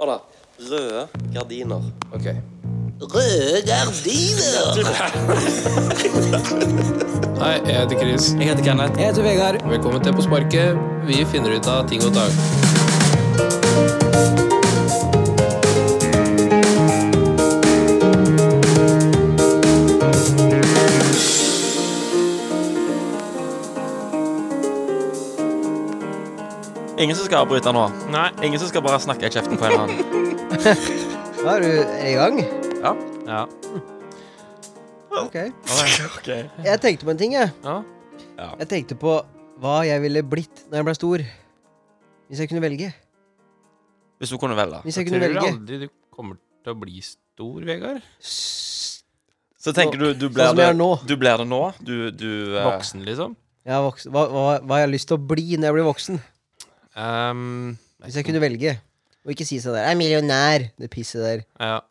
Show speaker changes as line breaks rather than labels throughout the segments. Hør da. Røde gardiner.
Ok.
Røde gardiner!
Hei, jeg heter Chris.
Jeg heter Kenneth.
Jeg heter Vegard.
Velkommen til På sparket. Vi finner ut av ting og tang.
Ingen som skal avbryte nå.
Nei.
Ingen som skal bare snakke i kjeften på en eller annen.
Da er du er i gang.
Ja. ja.
Ok.
Ok.
Jeg tenkte på en ting, jeg.
Ja.
Jeg tenkte på hva jeg ville blitt når jeg ble stor. Hvis jeg kunne velge.
Hvis du kunne velge.
Hvis jeg kunne velge.
aldri du kommer til å bli stor, Vegard.
S-
Så tenker du du
Sånn
blir
som
det
jeg er nå.
Du blir det nå. Du, du eh,
Voksen, liksom.
Jeg er voksen. Hva, hva, hva jeg har lyst til å bli når jeg blir voksen.
Um,
Hvis jeg kunne velge. Og ikke si sånn der Jeg er millionær. Det pisset der.
ja.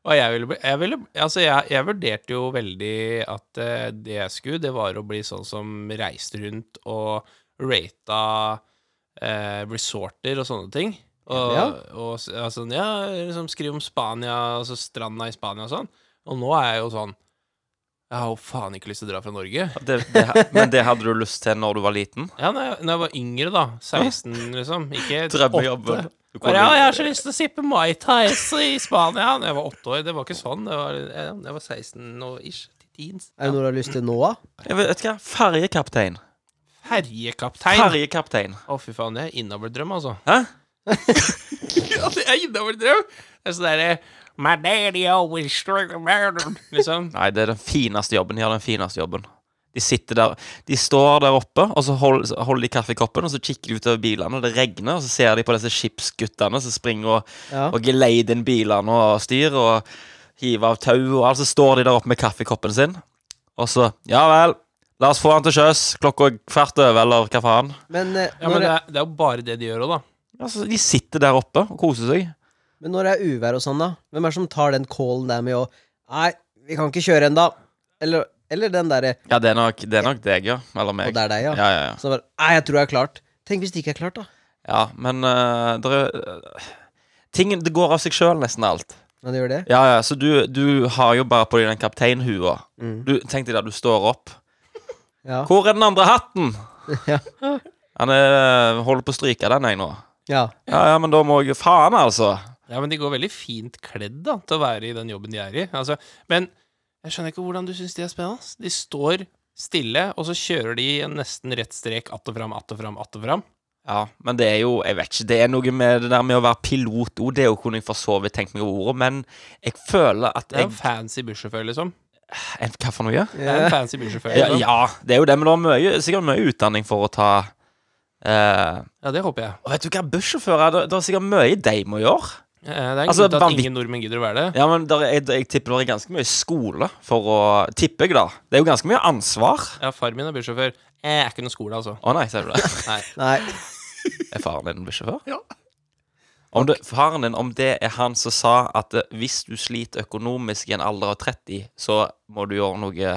Og jeg ville bli jeg, ville, altså jeg, jeg vurderte jo veldig at eh, det jeg skulle, det var å bli sånn som reiste rundt og rata eh, resorter og sånne ting. Og,
Ja.
og s- ja, sånn, ja, liksom skrive om Spania, altså stranda i Spania og sånn. Og nå er jeg jo sånn Jeg har jo faen ikke lyst til å dra fra Norge.
det, det, men det hadde du lyst til når du var liten?
Ja, når jeg, når jeg var yngre, da. 16, liksom. Ikke åtte.
Drømmejobben. Du kunne-
Bare, ja, jeg har så lyst til å sippe Mai Tais i Spania. Da jeg var åtte år. Det var ikke sånn. Det var, jeg, jeg var 16 og ish. til Teens.
Er det noe du har lyst til nå, da?
Jeg vet, vet du hva? Ferjekaptein.
Ferjekaptein. Å,
Ferjekaptein.
fy faen. Det er innavlet drøm, altså.
Hæ?
ja, det er innavlet drøm. Det er sånn derre My daddy always struggled murder. Liksom.
Nei, det er den fineste jobben. De har den fineste jobben. De sitter der De står der oppe, og så hold- så holder, de kaffekoppen, og så kikker de utover bilene, og det regner, og så ser de på disse skipsguttene som springer og,
Ja.
og geleider inn bilene og styr, og hiver av tau og alt, så står de der oppe med kaffekoppen sin, og så Ja vel, la oss få han til sjøs, klokka er kvart over, eller hva faen.
Men, eh,
Ja, men det
når, det...
er, det er jo bare det de gjør òg, da.
Altså, de sitter der oppe og koser seg.
men når det er uvær og sånn, da? Hvem er det som tar den callen der med å Nei, vi kan ikke kjøre ennå. Eller, eller den derre
Ja, det er nok, det er nok deg, ja. Eller meg.
Og det er deg, ja.
Ja, ja, ja.
Så bare Nei, jeg tror jeg er klart. Tenk hvis det ikke er klart, da.
ja men eh, der er Tingen, Det går av seg sjøl, nesten alt.
Men det gjør det.
Ja, ja, så du, du har jo bare på deg den kapteinhua. Du, tenk deg der du står opp.
Ja.
Hvor er den andre hatten?
Ja.
Han er, eh, holder på å stryke den, jeg nå.
ja.
Ja, ja, men da må jeg Faen, altså.
Ja, men de går veldig fint kledd da, til å være i den jobben de er i. Altså, men jeg skjønner ikke hvordan du syns de er spennende. ass. De står stille, og så kjører de en nesten rett strek att og fram, att og fram, att og fram.
Ja, men det er jo Jeg vet ikke. Det er noe med det der med å være pilot òg. Det er jo kunne jeg for så vidt tenkt meg over ordet, men jeg føler at
Det er
jeg
en fancy bussjåfør, liksom.
en- Hva for noe?
Det er en fancy bussjåfør.
Ja,
Liksom.
ja, det er jo det, men det var mye, sikkert mye utdanning for å ta eh,
Ja, det håper jeg.
Og vet du hva, bussjåfører Det det er sikkert mye de må gjøre.
Eh, Det er en
Altså,
grunn til at
vanvitt-
ingen nordmenn gidder å være det.
Ja, men der, er- jeg, jeg tipper det er ganske mye skole for å Tipper jeg, da. Det er jo ganske mye ansvar.
Ja, far min er bussjåfør. Jeg er ikke noen skole, altså.
Å nei, ser du det?
Nei.
Nei.
Er faren din bussjåfør? Ja. Om det, faren din, om det er han som sa at eh, hvis du sliter økonomisk i en alder av 30, så må du gjøre noe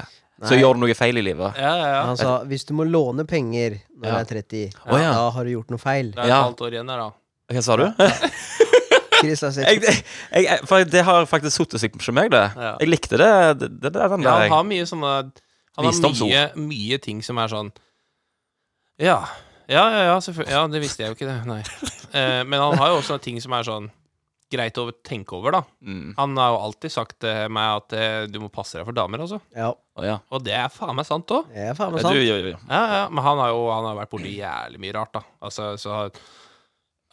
Så
Nei.
gjør du noe feil i livet.
Ja, ja, ja.
Han sa hvis du må låne penger når
Ja.
du er 30,
Å, ja.
da har du gjort noe feil.
Det er et
Ja.
halvt år igjen der, da.
Hva sa du?
Chris har sett
jeg, jeg, jeg, for det har faktisk satt seg hos meg, det.
Ja.
Jeg likte det. det, det, det den
Ja,
der, jeg.
han har mye sånne Han har
Visdomsord.
mye, mye ting som er sånn Ja. Ja, ja, ja, selvfølgelig. Ja, det visste jeg jo ikke, det. Nei. Eh, men han har jo også ting som er sånn greit å tenke over, da.
Mm.
Han har jo alltid sagt til meg at eh, du må passe deg for damer, altså.
Ja,
Å, ja.
Og det er faen meg sant òg.
det er faen meg
Ja, du,
sant.
jo, jo, jo.
Ja, ja, men han har jo han har vært borti jævlig mye rart, da. Altså, så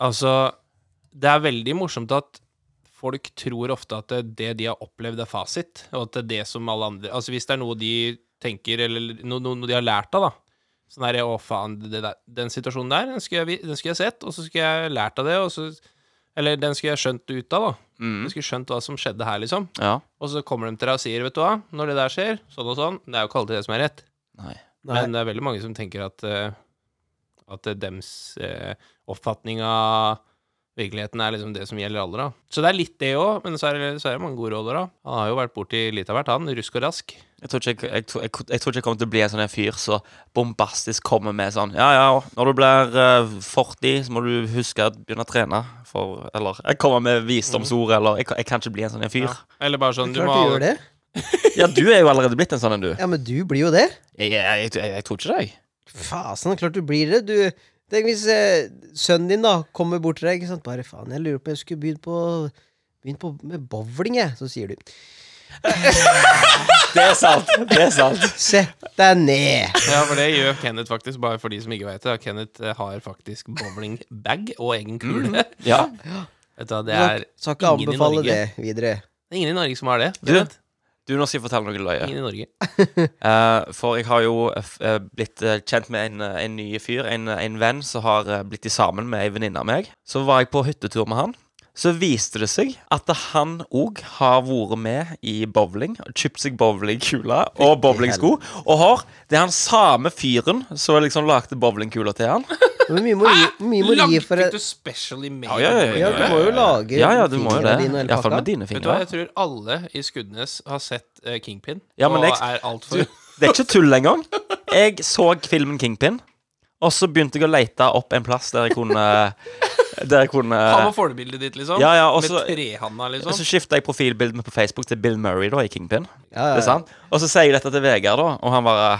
Altså, det er veldig morsomt at folk tror ofte at det de har opplevd, er fasit, og at det er det som alle andre Altså, hvis det er noe de tenker, eller no- no- noe de har lært av, da. Sånn er det, å faen, det der, den situasjonen der, den skulle, jeg, vi- den skulle jeg sett, og så skulle jeg lært av det, og så Eller den skulle jeg skjønt ut av, da.
Mm.
Jeg skulle skjønt hva som skjedde her, liksom.
ja.
Og så kommer de til deg og sier, vet du hva, når det der skjer, sånn og sånn, det er jo ikke alltid det som er rett.
Nei.
Nei.
Men det er veldig mange som tenker at eh, At eh, dems eh, oppfatning av Virkeligheten er liksom det som gjelder alle, da. Så det er litt det òg, men så er, det, så er det mange gode roller, da. Han har jo vært borti litt av hvert, han. Rusk og rask.
Jeg tror ikke jeg, jeg, tror- jeg, jeg, tror ikke jeg kommer til å bli en sånn en fyr som bombastisk kommer med sånn Ja, ja, når du blir eh, 40, så må du huske å begynne å trene. For, eller jeg kommer med visdomsord, eller jeg, kan- jeg kan ikke bli en sånn en fyr.
Ja. Eller bare sånn du
Klart
må
du
ha-
gjør det.
Ja, du er jo allerede blitt en sånn en, du.
Ja, men du blir jo det.
Jeg, jeg, jeg, jeg, jeg tror ikke det, jeg.
Fasen, klart du blir det. Du, tenk hvis eh, sønnen din da kommer bort til deg ikke sant? Bare faen, jeg lurer på jeg skulle begynt på, begynt på med bowling, jeg. Så sier du
Det er sant. Det er sant.
sett deg ned.
Ja, for det gjør Kenneth faktisk, bare for de som ikke vet det. og Kenneth eh, har faktisk bowlingbag og egen kule.
Ja.
Vet du hva, det er
Mm. Skal ikke
ingen i
anbefale
Norge.
det videre.
det er ingen i Norge som har det.
Du-
Kenneth.
Du, nå skal jeg fortelle noe løye.
Ingen i Norge.
Eh, for jeg har jo eh, f- eh, blitt eh, kjent med en, eh, en ny fyr, en, eh, en venn som har eh, blitt i sammen med ei venninne av meg. Så var jeg på hyttetur med han. Så viste det seg at han òg har vært med i bowling. Kjøpt seg bowlingkule og bowlingsko. Og har Det er han samme fyren som liksom lagde bowlingkula til han.
Hvor mye må, gi- mye må du gi for
Fikk
et
du specially made?
Ja, du må jo lage
Ja, ja, du må jo
fingrene
det.
dine og hele
Iallfall
pakka.
med dine
Vet du hva,
fingre.
jeg tror alle i Skudenes har sett eh, Kingpin,
Ja, men
og
jeg-
er altfor
Det er ikke tull engang. Jeg så filmen Kingpin, og så begynte jeg å lete opp en plass der jeg kunne Der jeg kunne
Ha med forbildet ditt, liksom.
Ja, ja, og så-
Med trehanda,
Og så
liksom.
skifta jeg profilbildet mitt på Facebook til Bill Murray da, i Kingpin.
Ja, ja,
Det er sant? Og så sier jeg dette til Vegard, da, og han bare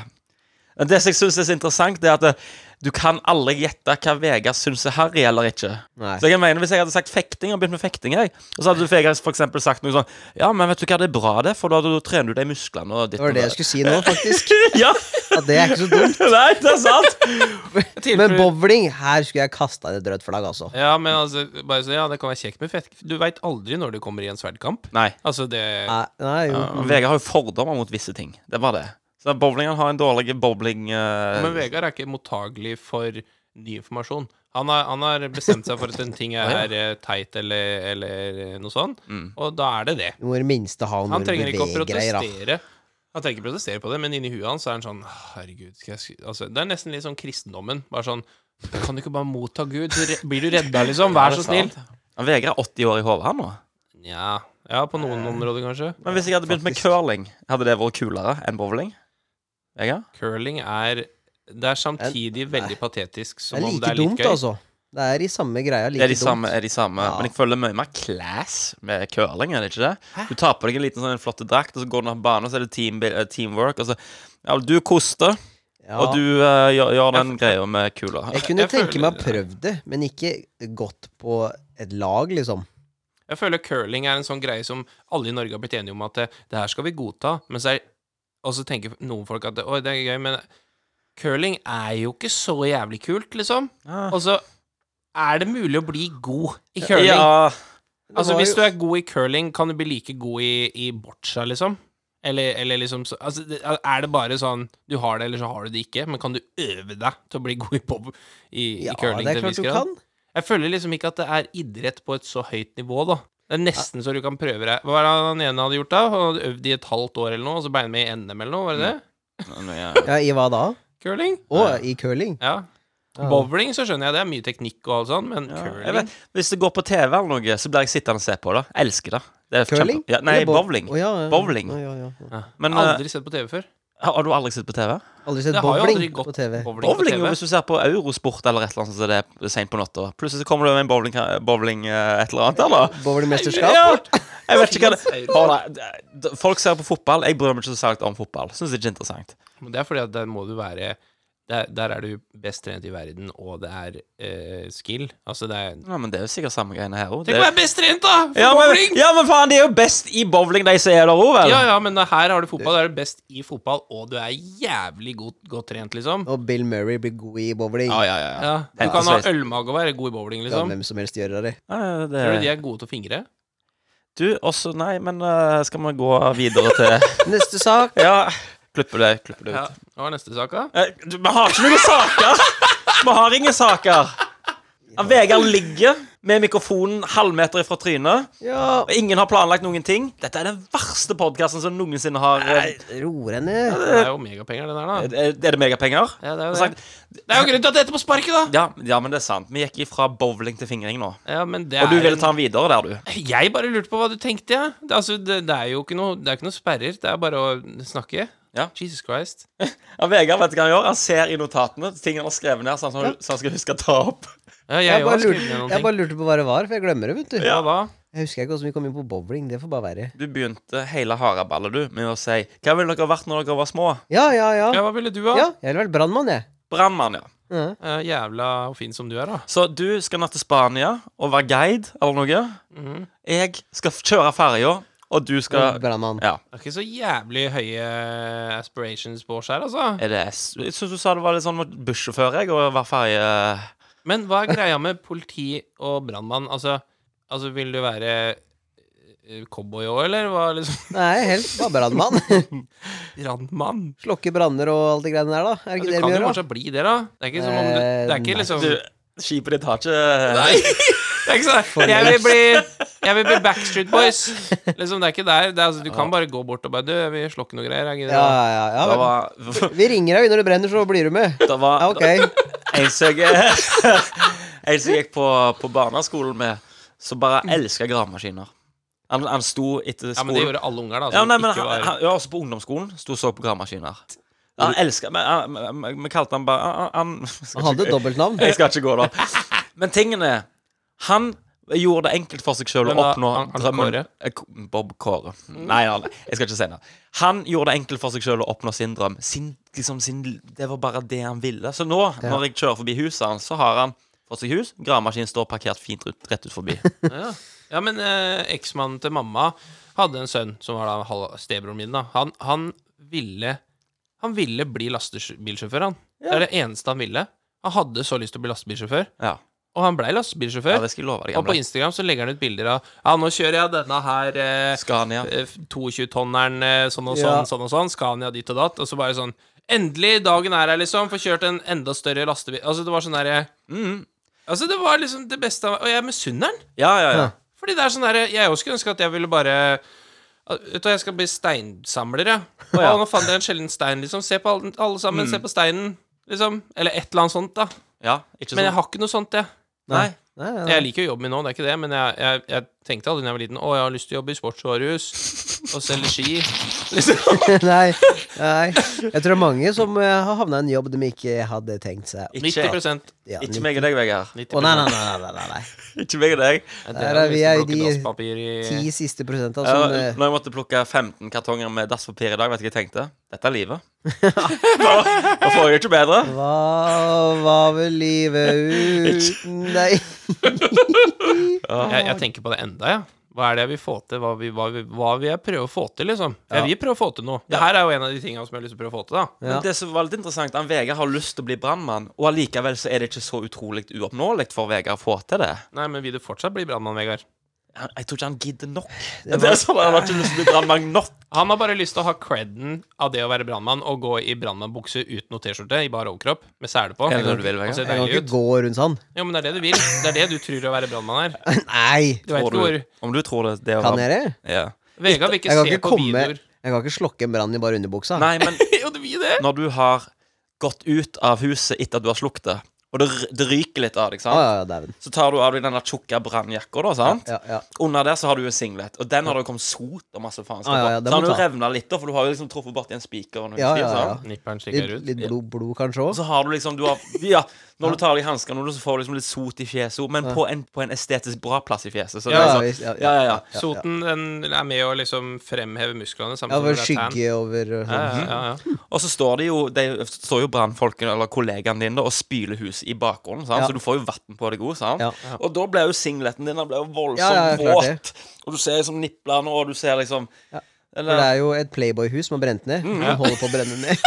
Men Det som jeg syns er så interessant, det er at eh, du kan aldri gjette hva Vegard syns er harry eller ikke.
Nei.
Så jeg mener, Hvis jeg hadde sagt fekting, og begynt med fekting, jeg, og så hadde du Vegard for eksempel sagt noe sånn Ja, men vet du hva, det er bra, det, for da, da trener du deg i musklene og ditt
Det var det jeg skulle si nå, faktisk.
Ja!
At det er ikke så dumt.
Nei, det er sant!
Men bowling, her skulle jeg kasta inn et rødt flagg, altså.
Ja, men altså, bare så, ja, det kan være kjekt med fett. Du veit aldri når du kommer i en sverdkamp.
Nei.
Altså, det
Nei, nei jo.
Ja, Vegard har jo fordommer mot visse ting. Det var det. Så bowlingen har en dårlig bowling... eh,
Men Vegard er ikke mottagelig for ny informasjon. Han har, han har bestemt seg for at en ting er eh, teit eller, eller eh, noe sånt,
Mm.
og da er det det.
Du må i det minste ha noen
Han trenger ikke å
beveggreier, da.
protestere. Han trenger ikke protestere på det, men inni huet hans er han sånn Herregud, skal jeg sk-" altså, Det er nesten litt sånn kristendommen. Bare sånn Kan du ikke bare motta Gud? Så re- blir du redda, liksom? Vær så snill.
Ja, Vegard er 80 år i hodet her nå.
Nja Ja, på noen
Eh.
områder, kanskje.
Men hvis jeg hadde begynt med
faktisk.
curling, hadde det vært kulere enn bowling? Vegard?
Curling er Det er samtidig veldig patetisk
Det
som
er
om
like
det er litt
dumt,
gøy.
altså. Det er i samme greia. Like
Det er de
dumt.
samme, er de samme.
Ja.
men jeg føler mye mer class med curling. er det ikke det? Du tar på deg en liten sånn flott drakt, og så går du av banen, og så er det team, eh, teamwork. Og så, ja, du koster,
Ja.
og du eh, gjør, gjør den greia med kula.
jeg
Jeg
kunne tenke
føler-
meg å prøve det, men ikke gått på et lag, liksom.
Jeg føler curling er en sånn greie som alle i Norge har blitt enige om at eh, det her skal vi godta, men så er Og så tenker noen folk at oi, det er gøy, men curling er jo ikke så jævlig kult, liksom.
Ah.
Og så er det mulig å bli god i curling.
Ja,
altså,
var
hvis
jo-
du er god i curling, kan du bli like god i, i boccia, liksom. Eller, eller liksom så, altså, det- Er det bare sånn du har det, eller så har du det ikke, men kan du øve deg til å bli god i, bob, i,
Ja,
i curling?
det er
til en viss
klart du
grad?
kan.
Jeg føler liksom ikke at det er idrett på et så høyt nivå, da. Det er nesten så du kan prøve deg. Hva var det han ene hadde gjort, da? Han hadde øvd i et halvt år eller noe, og så ble han med i NM eller noe, var det det?
Mm.
ja.
Ja, I hva da?
Curling?
Å, i curling?
Ja.
Ja.
Bowling så skjønner jeg, det er mye teknikk og alt sånn, men
Ja, jeg
curling
vet, hvis det går på TV eller noe, så blir jeg sittende og se på det. Elsker det. det er
Curling?
kjempe- Ja, nei,
Eller bow-
bowling.
Å, ja, ja.
Bowling.
Å, ja, ja.
ja.
Men eh,
Aldri sett på TV før.
har har du aldri sett på TV?
Det
Aldri sett
har jo
bowling
aldri gått
på TV.
bowling,
Bowling, jo,
på
hvis
TV.
du ser på Eurosport eller et eller annet, så er det seint på natta. Plutselig så kommer det med en bowling, bowling eh, et eller annet, eller?
Bowlingmesterskap?
Ja, jeg vet ikke hva det Hold da, d- Folk ser på fotball. Jeg bryr meg ikke så særlig om fotball. Syns det er ikke interessant.
Men det er fordi at der må du være der, der er du best trent i verden, og det er eh, skill. Altså, det er
Ja, men det er jo sikkert samme greiene her òg.
Tenk å være best trent, da! For
Ja, men,
bowling!
ja, men faen, de er jo best i bowling, de som er der òg, vel?
Ja, ja, men her har du fotball. Da er du best i fotball, og du er jævlig god, godt trent, liksom.
Og Bill Murray blir god i bowling.
Ja, ja, ja. altså- ja.
Ja, du
Helt
kan ha
sveis.
ølmage og være god i bowling,
Ja,
liksom.
hvem som helst gjør det.
ja det
Tror du de er gode til å fingre?
Du, også Nei, men eh, skal vi gå videre til
Neste sak.
Ja. Klipper det, klipper det ut.
Ja. Hva er neste sak, da?
Eh, du, Vi har ikke noen saker! Vi har ingen saker. Ja, Vegard ligger med mikrofonen halvmeter ifra trynet.
Ja,
Og ingen har planlagt noen ting. Dette er den verste podkasten som noensinne har eh,
roer henne.
Det er jo megapenger, den her, da.
Er er det megapenger?
Ja, det er jo
Sagt-
det. Det er jo grunnen til at det heter på sparket, da!
Ja, ja, men det er sant. Vi gikk ifra bowling til fingring nå.
Ja, men det
Og du
er
ville
en-
ta den videre der, du.
Jeg bare lurte på hva du tenkte, jeg. Det, altså, det, det er jo ikke noe, det er ikke noe sperrer. Det er bare å snakke.
Ja.
Jesus Christ.
Ja, Vegard vet du hva han gjør? Han ser i notatene ting han har skrevet ned, så han, så han skal huske å ta opp.
Ja, jeg
Jeg
òg
bare,
har skrevet ned
lurte,
noen
jeg
ting.
bare lurte på hva det var, for jeg glemmer det, vet du.
Ja, hva?
Jeg husker ikke hvordan vi kom inn på bowling. Det får bare være.
Du begynte hele haraballet, du, med å si Hva ville dere vært når dere var små?
Ja, ja, ja.
Ja, hva ville du ha?
Ja, Jeg ville vært brannmann, jeg.
Brannmann, ja.
Ja.
Eh, jævla fin som du er, da.
Så du skal nå til Spania og være guide eller noe.
Mhm.
Jeg skal f- kjøre ferja, og du skal
Brannmann.
Ja.
Det er ikke så jævlig høye eh, aspirations på oss her, altså.
Er det s- Jeg syns du sa det var litt sånn mot bussjåfør, jeg, og være ferje...
Men hva er greia med politi og brannmann? Altså, altså, vil du være eh, cowboy òg, eller hva liksom?
Nei, helst bare brannmann.
Brannmann?
Slokke branner og alt det greiene der, da. Er det
Ja,
ikke
du
det
kan
vi
jo
gjør, da?
kanskje bli det, da. Det er ikke som om du Det er
Eh,
ikke liksom
Du, skipet ditt har ikke Nei.
Det er ikke sånn jeg vil, bli, jeg vil bli Backstreet Boys. Liksom, det er ikke der. Det er, altså, du kan bare gå bort og bare Du, jeg vil slokke noe greier. Jeg
Ja,
gidder ikke».
ja, ja.
Det
men
var,
Vi ringer deg når det brenner, så blir du med.
det var
Ja, ok.
en som jeg En som jeg gikk på, på barneskolen med, som bare elska gravemaskiner. Han, han sto etter
ja, men det
skolen
gjorde alle unger, da.
Ja,
Som
nei, men
ikke
han,
var
han, ja, også på ungdomsskolen sto og så på gravemaskiner. Han elska Vi kalte han bare han- Han
Han hadde et dobbeltnavn.
Jeg skal ikke gå da. Men tingen er Han gjorde det enkelt for seg sjøl å
Men da,
oppnå
han- han
drømmen
Kåre?
Eh, K- Bob Kåre. Nei, nei, nei, jeg skal ikke si det. Han gjorde det enkelt for seg sjøl å oppnå sin drøm. Sin, liksom sin, det var bare det han ville. Så nå, når jeg kjører forbi huset hans, så har han fått seg hus. Gravemaskinen står parkert fint ut, rett ut forbi.
Ja, ja men eh, eksmannen til mamma hadde en sønn som var da halv- stebroren min, da. Han, han ville Han ville bli lastebilsjåfør, han. Det er det eneste han ville. Han hadde så lyst til å bli lastebilsjåfør,
Ja,
og han blei
ja
lastebilsjåfør.
det skal jeg love deg.
og på
Gamle.
Instagram så legger han ut bilder av Ja, nå kjører jeg denne her eh,
Scania.
eh, 22-tonneren eh, sånn og
Ja.
sånn, sånn og sånn, Scania dit og datt, og så bare sånn Endelig, dagen er her, liksom. Får kjørt en enda større lastebil Altså, det var sånn derre
Mm.
Altså, det var liksom det beste av Og jeg misunner den.
Ja, ja, ja.
Ja.
Fordi det er sånn derre Jeg også skulle ønske at jeg ville bare Ah, Vet du hva, jeg skal bli steinsamler, jeg. Å,
ja.
nå fant jeg en sjelden stein, liksom. Se på alle, alle sammen, se på steinen, liksom. Eller et eller annet sånt, da.
ja ikke
Men jeg
sånn.
har ikke noe sånt, jeg.
Nei.
Nei, nei,
Jeg liker jo jobben min nå, det er ikke det, men jeg, jeg, jeg tenkte aldri da jeg var liten Å, jeg har lyst til å jobbe i sportsvarehus og selge ski. Liksom.
nei. nei, nei. Jeg tror det er mange som eh, har havna i en jobb de ikke hadde tenkt seg.
Ikke,
90
Ja,
ikke
ni-
meg og deg, Vegard.
Å, nei, nei, nei, nei, nei, nei.
Ikke meg og deg.
Der er vi i de
i
Ti siste prosenta
Ja,
som eh,
når jeg måtte plukke 15 kartonger med dasspapir i dag, vet du hva jeg tenkte? Dette er livet. Nå nå får jeg det ikke bedre.
Hva var vel livet uten deg?
jeg, jeg tenker på det enda, jeg. Hva er det jeg vil få til? Hva, vi, hva, vi, hva vil jeg prøve å få til, liksom? Jeg vil prøve å få til noe. Det her er jo en av de tingene som jeg har lyst til å prøve å få til, da.
Ja.
Men det som var litt interessant, han Vegard har lyst til å bli brannmann, og allikevel så er det ikke så utrolig uoppnåelig for Vegard å få til det.
Nei, men vil du fortsatt bli brannmann, Vegard?
Han, jeg tror ikke han gidder nok. Det,
var-
er sånn, Han har ikke lyst til å bli brannmann nok.
Han har bare lyst til å ha creden av det å være brannmann og gå i brannmannbukse uten noe T-skjorte, i bar overkropp, med sele på.
Eller når du vil, Vegard.
Og se
Jeg kan
deilig
ikke
ut.
gå rundt sånn.
Jo, men det er det du vil. Det er det du tror å være brannmann er.
Nei!
Du vet
Tror
ikke hvor
du, om du tror det, det å
Kan
være-
dere?
ja.
Vegard vil ikke
Jeg kan
se
ikke
på
komme
videoer.
Jeg kan ikke slokke en brann i bare underbuksa.
Nei, men
jo, det vil det.
når du har gått ut av huset etter at du har slukt det, og det, r- det ryker litt av deg,
Å,
sant?
ja, ja, dæven.
så tar du av deg denne tjukke brannjakka, da, sant?
Ja, ja.
Under der så har du jo singlet, og den har det jo kommet sot og masse faenskap.
Ah, ja, ja,
på.
det
så
må
har den jo
ta.
revna litt, da, for du har jo liksom truffet borti en spiker. og noe
Ja,
stil,
ja,
sant?
Nipperen stikker
Litt,
ut.
litt blod, blod kanskje
Og
òg?
så har du liksom du har, Ja, når du tar av deg hanskene, så får du liksom litt sot i fjeset, men på, en, på en estetisk bra plass i fjeset. Så det
Ja,
er
ja,
sånn,
visst, ja,
ja, ja, ja.
Soten den er med å liksom fremheve musklene.
Ja,
Samtidig som
over
det er tan.
skygge over og
Ja,
sånn.
ja, ja, ja.
Og så står det jo De står jo brannfolkene eller kollegaene dine da, og spyler huset i bakgrunnen, sant?
Ja.
så du får jo vann på deg òg, sant?
Ja.
Og da ble jo singleten din den ble jo voldsomt
Ja, ja, klart
våt, og du ser liksom niplene, og du ser liksom
For det
eller,
Mm,
er jo et playboyhus som har brent ned. Som holder på å brenne ned.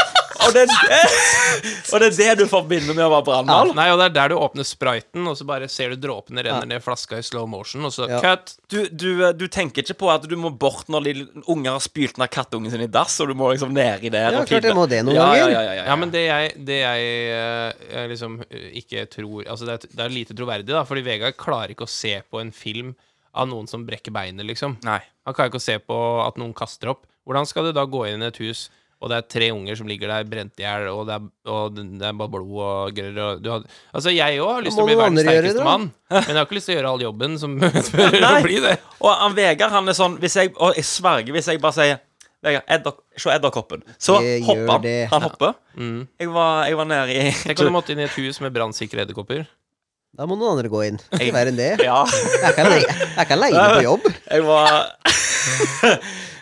og, det, og det er det du forbinder med å være brannmann?
Nei, og det er der du åpner spriten, og så bare ser du dråpene renner ned flaska i slow motion, og så
Ja.
cut.
Du, du, du tenker ikke på at du må bort når de unger har spylt ned kattungen sin i dass, og du må liksom nedi der
Ja,
og
klart jeg
pibbe.
må det noen
ja,
ganger.
Ja, ja, ja, ja.
Ja, men det jeg, det jeg, eh, jeg liksom eh, ikke tror Altså, det er, det er lite troverdig, da, fordi Vegard klarer ikke å se på en film av noen som brekker beinet, liksom.
Nei.
Han klarer ikke å se på at noen kaster opp. Hvordan skal du da gå inn i et hus, og det er tre unger som ligger der brent i hjel, og, det er- og det er bare blod og gørr og du har, Altså, jeg òg har lyst til å
må
bli
noen
verdens
andre gjøre det,
sterkeste
da.
mann, men jeg har ikke lyst til å gjøre all jobben som medfører å
Nei.
bli det.
Og han Vegard han er sånn hvis jeg, Og jeg sverger hvis jeg bare sier Vegard, edder, se edderkoppen. Så
Jeg gjør
hopper han.
det.
Han hopper.
Mm.
Jeg var, jeg var nede i
Tenk om du måtte inn i et hus med brannsikre edderkopper.
Da må noen andre gå inn. Det er
Jeg-
Ikke verre enn det.
Ja.
Jeg kan leie, jeg kan leie på jobb.
Jeg var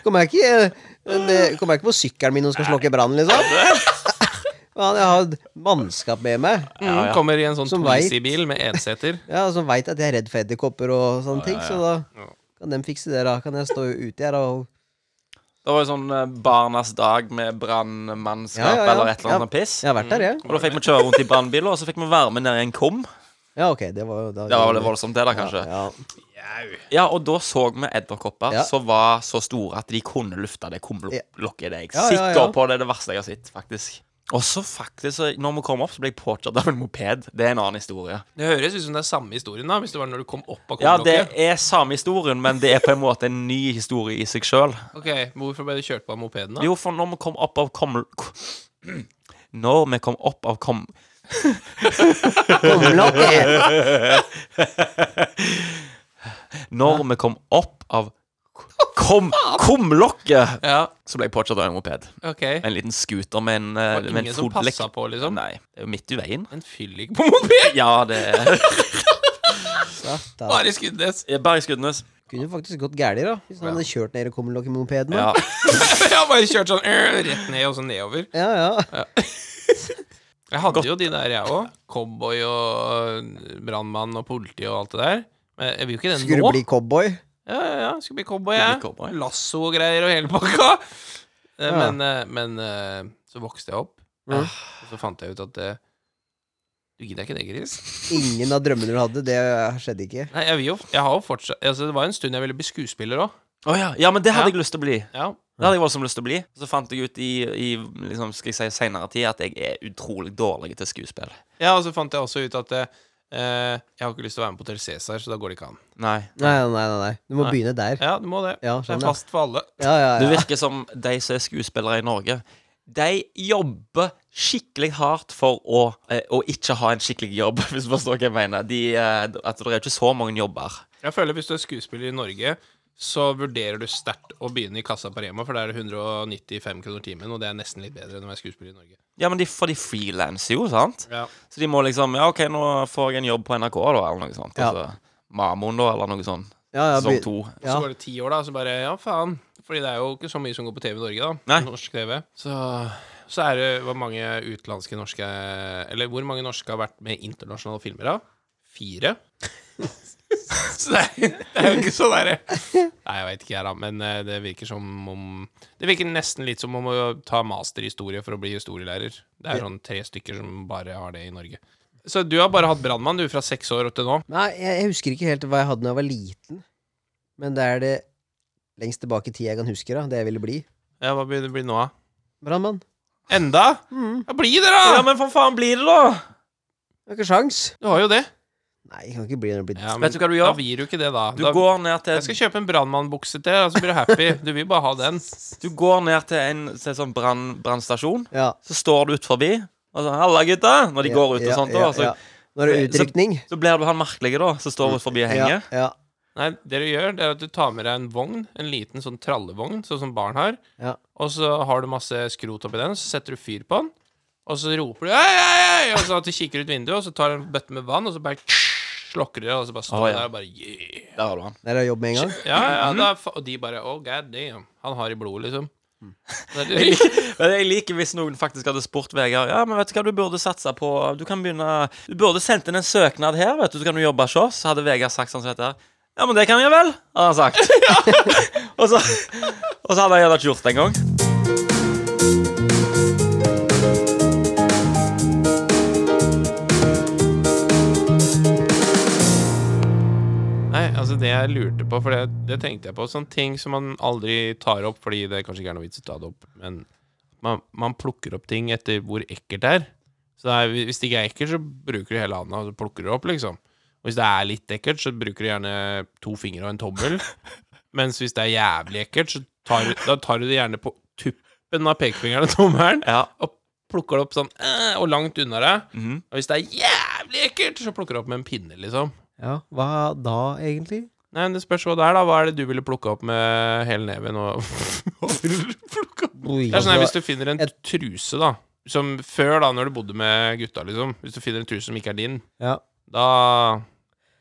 Kommer jeg ikke, eh, en, eh, kommer jeg ikke på sykkelen min og skal slokke brannen, liksom? Faen, jeg har mannskap med meg
Mm, Kommer i en sånn
Som veit.
Twizy-bil med enseter.
ja, som veit at jeg er redd for edderkopper og sånne ting, så da
Ja.
kan de fikse det. da Kan jeg stå ute her og
Det var jo sånn eh, Barnas dag med brannmannskap
Ja, ja, ja.
eller et eller annet
Ja.
sånt piss.
Jeg har vært der, jeg.
Og da fikk vi kjøre rundt i brannbiler, og så fikk vi være med ned i en kum.
Ja, ok, det var jo da
Det var vel voldsomt, det, da, kanskje.
Ja,
Ja, og da så vi edderkopper
Ja.
som var så store at de kunne lufte det kumlokket i deg.
Ja, ja, ja.
Sikker på det er det verste jeg har sett, faktisk. Og så faktisk, så når vi kom opp, så ble jeg påkjørt av en moped. Det er en annen historie.
Det høres ut som det er samme historien, da, hvis det var når du kom opp av
Ja, det
kumlokket.
er samme historien, men det er på en måte en ny historie i seg sjøl.
Ok, Hvorfor ble du kjørt på av mopeden, da?
Jo, for når vi kom opp av kom... Når vi kom opp av kom...
Kumlokket!
Når vi kom opp av kom... kumlokket,
Ja,
så ble jeg påkjørt av en moped.
ok.
En liten scooter med en, eh,
Det var
med
ingen
en
som
fodlekk.
passa på, liksom?
Nei, det er jo midt i veien.
En fyllik på moped?
Ja, det
Satan.
Bare i Skudenes.
er Berg Skudenes.
Kunne faktisk gått gærlig da, hvis han hadde kjørt ned i kumlokket med mopeden.
Ja.
da.
Jeg har bare kjørt sånn øh, rett ned og så nedover.
Ja, ja.
Jeg hadde jo de der, jeg òg. Cowboy og øh, brannmann og politi og alt det der. Men jeg vil jo ikke det
Skulle
nå.
du bli cowboy?
Ja, ja, ja. Skulle bli cowboy,
Skulle
jeg.
bli cowboy.
Lasso og greier og hele pakka. Eh,
Ja.
Men, eh, men eh, så vokste jeg opp, Ah.
Ja.
og så fant jeg ut at eh, Du gidder ikke det, Gris?
Ingen av drømmene du hadde, det skjedde ikke.
Nei, jeg, vil jo, jeg har jo fortsatt altså, Det var en stund jeg ville bli skuespiller òg.
Å ja. ja, men det hadde
Ja.
jeg lyst til å bli.
Ja.
Det hadde jeg voldsomt lyst til å bli. Så fant jeg ut i, i liksom, skal jeg si, senere tid at jeg er utrolig dårlig til skuespill.
ja, og så fant jeg også ut at eh, eh, jeg har ikke lyst til å være med på Hotel Cæsar, så da går det ikke an.
Nei.
Nei, nei, nei. nei. Du må
Nei.
begynne der.
Ja, du må det.
Ja,
det
sånn,
er
ja.
fast for alle.
Ja, ja,
Du
ja.
virker som de som er skuespillere i Norge. De jobber skikkelig hardt for å, eh, å ikke ha en skikkelig jobb, hvis du forstår hva jeg mener. De, eh, at det er jo ikke så mange jobber.
Jeg føler Hvis du er skuespiller i Norge, så vurderer du sterkt å begynne i kassa på Rema, for der er det 195 kroner timen, og det er nesten litt bedre enn å være skuespiller i Norge.
Ja, men de, for de frilanser jo, sant?
Ja.
Så de må liksom Ja, OK, nå får jeg en jobb på NRK, da, eller noe sånt.
Ja.
Altså, Mamon, da, eller noe sånt.
ja, ja,
Sesong
be-
to.
Og
Ja.
Så går det ti år, da, så bare Ja, faen. Fordi det er jo ikke så mye som går på TV i Norge, da.
Nei.
Norsk TV. Så, så er det hvor mange utenlandske norske Eller hvor mange norske har vært med i internasjonale filmer, da? Fire? så det er, det er jo ikke så derre Nei, jeg veit ikke, jeg, da. Men eh, det virker som om Det virker nesten litt som om å ta master i historie for å bli historielærer. Det er sånn tre stykker som bare har det i Norge. Så du har bare hatt brannmann, du, fra seks år til nå?
Nei, jeg, jeg husker ikke helt hva jeg hadde da jeg var liten, men det er det lengst tilbake i tid jeg kan huske, da, det jeg ville bli.
Ja, hva blir det bli nå, da?
Brannmann.
Enda?
Mm.
Ja, bli det, da!
Ja, men for faen blir det, da!
Har ikke sjans.
Du har jo det.
Nei, jeg kan ikke bli når jeg blir
Ja, men
Vet du hva du gjør?
Da gir du ikke det, da.
Du
da
går ned
jeg skal
til,
kjøpe en brannmannbukse til, og så blir du happy. Du vil bare ha den.
du går ned til en til en sånn brann, brannstasjon,
Ja.
så står du ut forbi, og så 'Halla, gutta!' Når de
ja,
går ut og
ja,
sånt.
ja,
da,
altså.
så,
ja. Nå er det
Så-
utrykning.
så blir du han merkelige, da, som står ut forbi og
Ja,
henger.
ja.
Nei, det du gjør, det er at du tar med deg en vogn, en liten sånn trallevogn, sånn som barn har,
Ja.
og så har du masse skrot oppi den, så setter du fyr på den, og så roper du hei, hei, hei, og så at du kikker ut vinduet, og så tar du en bøtte med vann, og så bare slokker du det, og så bare
Å,
står du
ja.
der og bare yeah.
Der har du han.
Der er jobb med en gang.
Ja, ja, da,
Mhm.
fa- og de bare oh god damn, han har i blodet, liksom. Det er-
Men Mm. jeg liker hvis noen faktisk hadde spurt Vegard Ja, men vet du hva du burde satse på Du kan begynne Du burde sendt inn en søknad her, vet du, så kan du jobbe hos oss. Så hadde Vegard sagt sånn som dette her. Ja, men det kan jeg vel, hadde han sagt. og, så, og så hadde han gjerne ikke gjort det engang.
Nei, altså det jeg lurte på, for det, det tenkte jeg på, sånne ting som man aldri tar opp fordi det kanskje ikke er noe vits å ta det opp, men man, man plukker opp ting etter hvor ekkelt det er. Så det er, hvis det ikke er ekkelt, så bruker du hele handa og så plukker du det opp, liksom. Og hvis det er litt ekkelt, så bruker du gjerne to fingre og en tommel. Mens hvis det er jævlig ekkelt, så tar, du- da tar du det gjerne på tuppen av pekefingeren og tommelen
Ja.
og plukker det opp sånn, eh, og langt unna deg.
Mhm.
Og hvis det er jævlig ekkelt, så plukker du opp med en pinne, liksom.
Ja, hva da, egentlig?
Nei, men det spørs hva det er, da. Hva er det du ville plukke opp med hele neven? Og Hva ville du plukke opp?
Oi,
Det er sånn her, Hvis
altså,
du finner en truse, da Som før, da, når du bodde med gutta, liksom Hvis du finner en truse som ikke er din,
ja.
da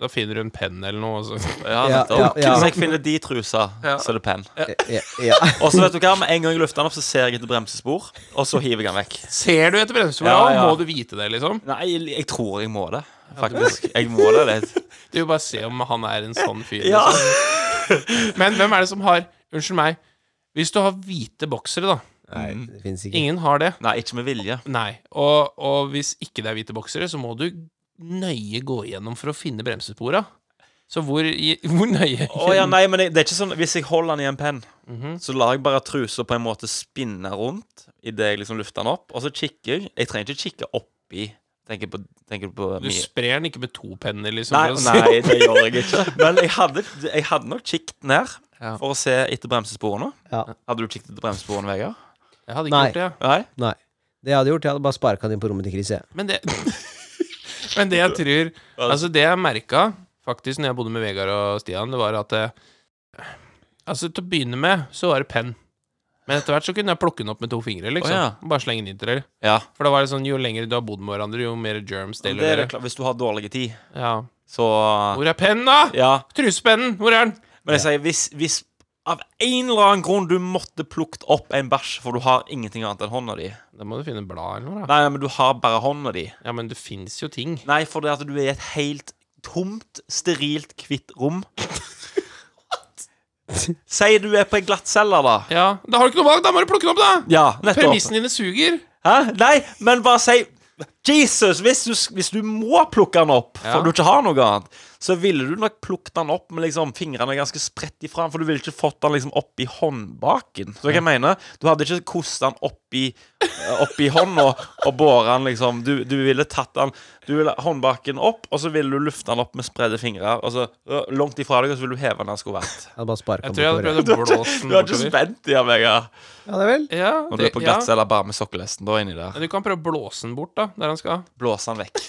Da finner du en penn eller noe, og så
Ja,
Ja,
nettopp.
ja, ja.
Hvis jeg finner de trusa, så er det penn.
Ja, ja.
Og så vet du hva, med en gang jeg lufter den opp, så ser jeg etter bremsespor, og så hiver jeg den vekk.
Ser du etter bremsesporet,
Ja,
ja,
ja.
må du vite det, liksom.
Nei, jeg, jeg tror jeg må det. Faktisk. Jeg må det litt.
Du vil bare se om han er en sånn fyr.
Ja.
Liksom. Men hvem er det som har Unnskyld meg. Hvis du har hvite boksere, da.
Nei, det fins ikke.
Mm. Ingen har det.
Nei, ikke med vilje.
Nei, og, og hvis ikke det er hvite boksere, så må du nøye gå igjennom for å finne bremsespora. Så hvor, i- hvor nøye
Å ja, nei, men det, det er ikke sånn Hvis jeg holder den i en penn,
Mhm.
så lar jeg bare trusa på en måte spinne rundt idet jeg liksom lufter den opp, og så kikker jeg. Jeg trenger ikke kikke oppi. Tenker på, tenker på
Du
mi-
sprer den ikke med to penner, liksom?
Nei,
for å se
nei, det gjør jeg ikke. Men jeg hadde, jeg hadde nok kikket ned
Ja.
for å se etter bremsesporene.
Ja.
Hadde du kikket etter bremsesporene, Vegard?
om- Jeg hadde ikke
Nei.
gjort det. ja.
Nei?
Nei. Det jeg hadde gjort, jeg hadde bare sparka den inn på rommet til Chris. jeg.
Men det Men det jeg tror Altså, det jeg merka faktisk når jeg bodde med Vegard og Stian, det var at eh, Altså, til å begynne med så var det penn. Men etter hvert så kunne jeg plukke den opp med to fingre, liksom.
Å,
Bare slenge den inn til dere.
Ja.
For da var det sånn, jo lenger du har bodd med hverandre, jo mer germs
Det
deler
er det
dere.
klart. Hvis du har dårlig tid,
Ja.
så
Hvor er pennen, da?
Ja.
Trusepennen, hvor er den?
Men jeg sier, hvis, hvis av en eller annen grunn du måtte plukket opp en bæsj, for du har ingenting annet enn hånda di Nei,
Da må du finne blad eller noe, da.
nei, men du har bare hånda di.
Ja, men det fins jo ting.
Nei, for det at du er i et helt tomt, sterilt, hvitt rom. Si du er på en glattcelle, da.
Ja, Da har du ikke noe valg, da må du plukke den opp, da!
Ja, nettopp.
Premissene dine suger.
Hæ? Nei, men bare si Jesus, hvis du, hvis du må plukke den opp
Ja.
for du ikke har noe annet, så ville du nok plukket den opp med liksom fingrene ganske spredt ifra, for du ville ikke fått den liksom oppi håndbaken. Så hva jeg mener, du hadde ikke kostet den oppi, eh, oppi hånda og båret den liksom du, du ville tatt den Du ville håndbaken opp, og så ville du lufte den opp med spredde fingre, og så øh, langt ifra deg, og så ville du heve den der den skulle vært.
Jeg hadde bare sparket
Jeg
den
tror jeg
bortover, jeg.
hadde prøvd å blåse den
Du er ikke
bortover.
spent i den, Vegard.
Ja, det er vel.
Ja,
Når du
det,
er på
ja.
glattcella bare med sokkelesten da inni der,
Men Du kan prøve å blåse den bort, da, der han skal.
blåse den vekk.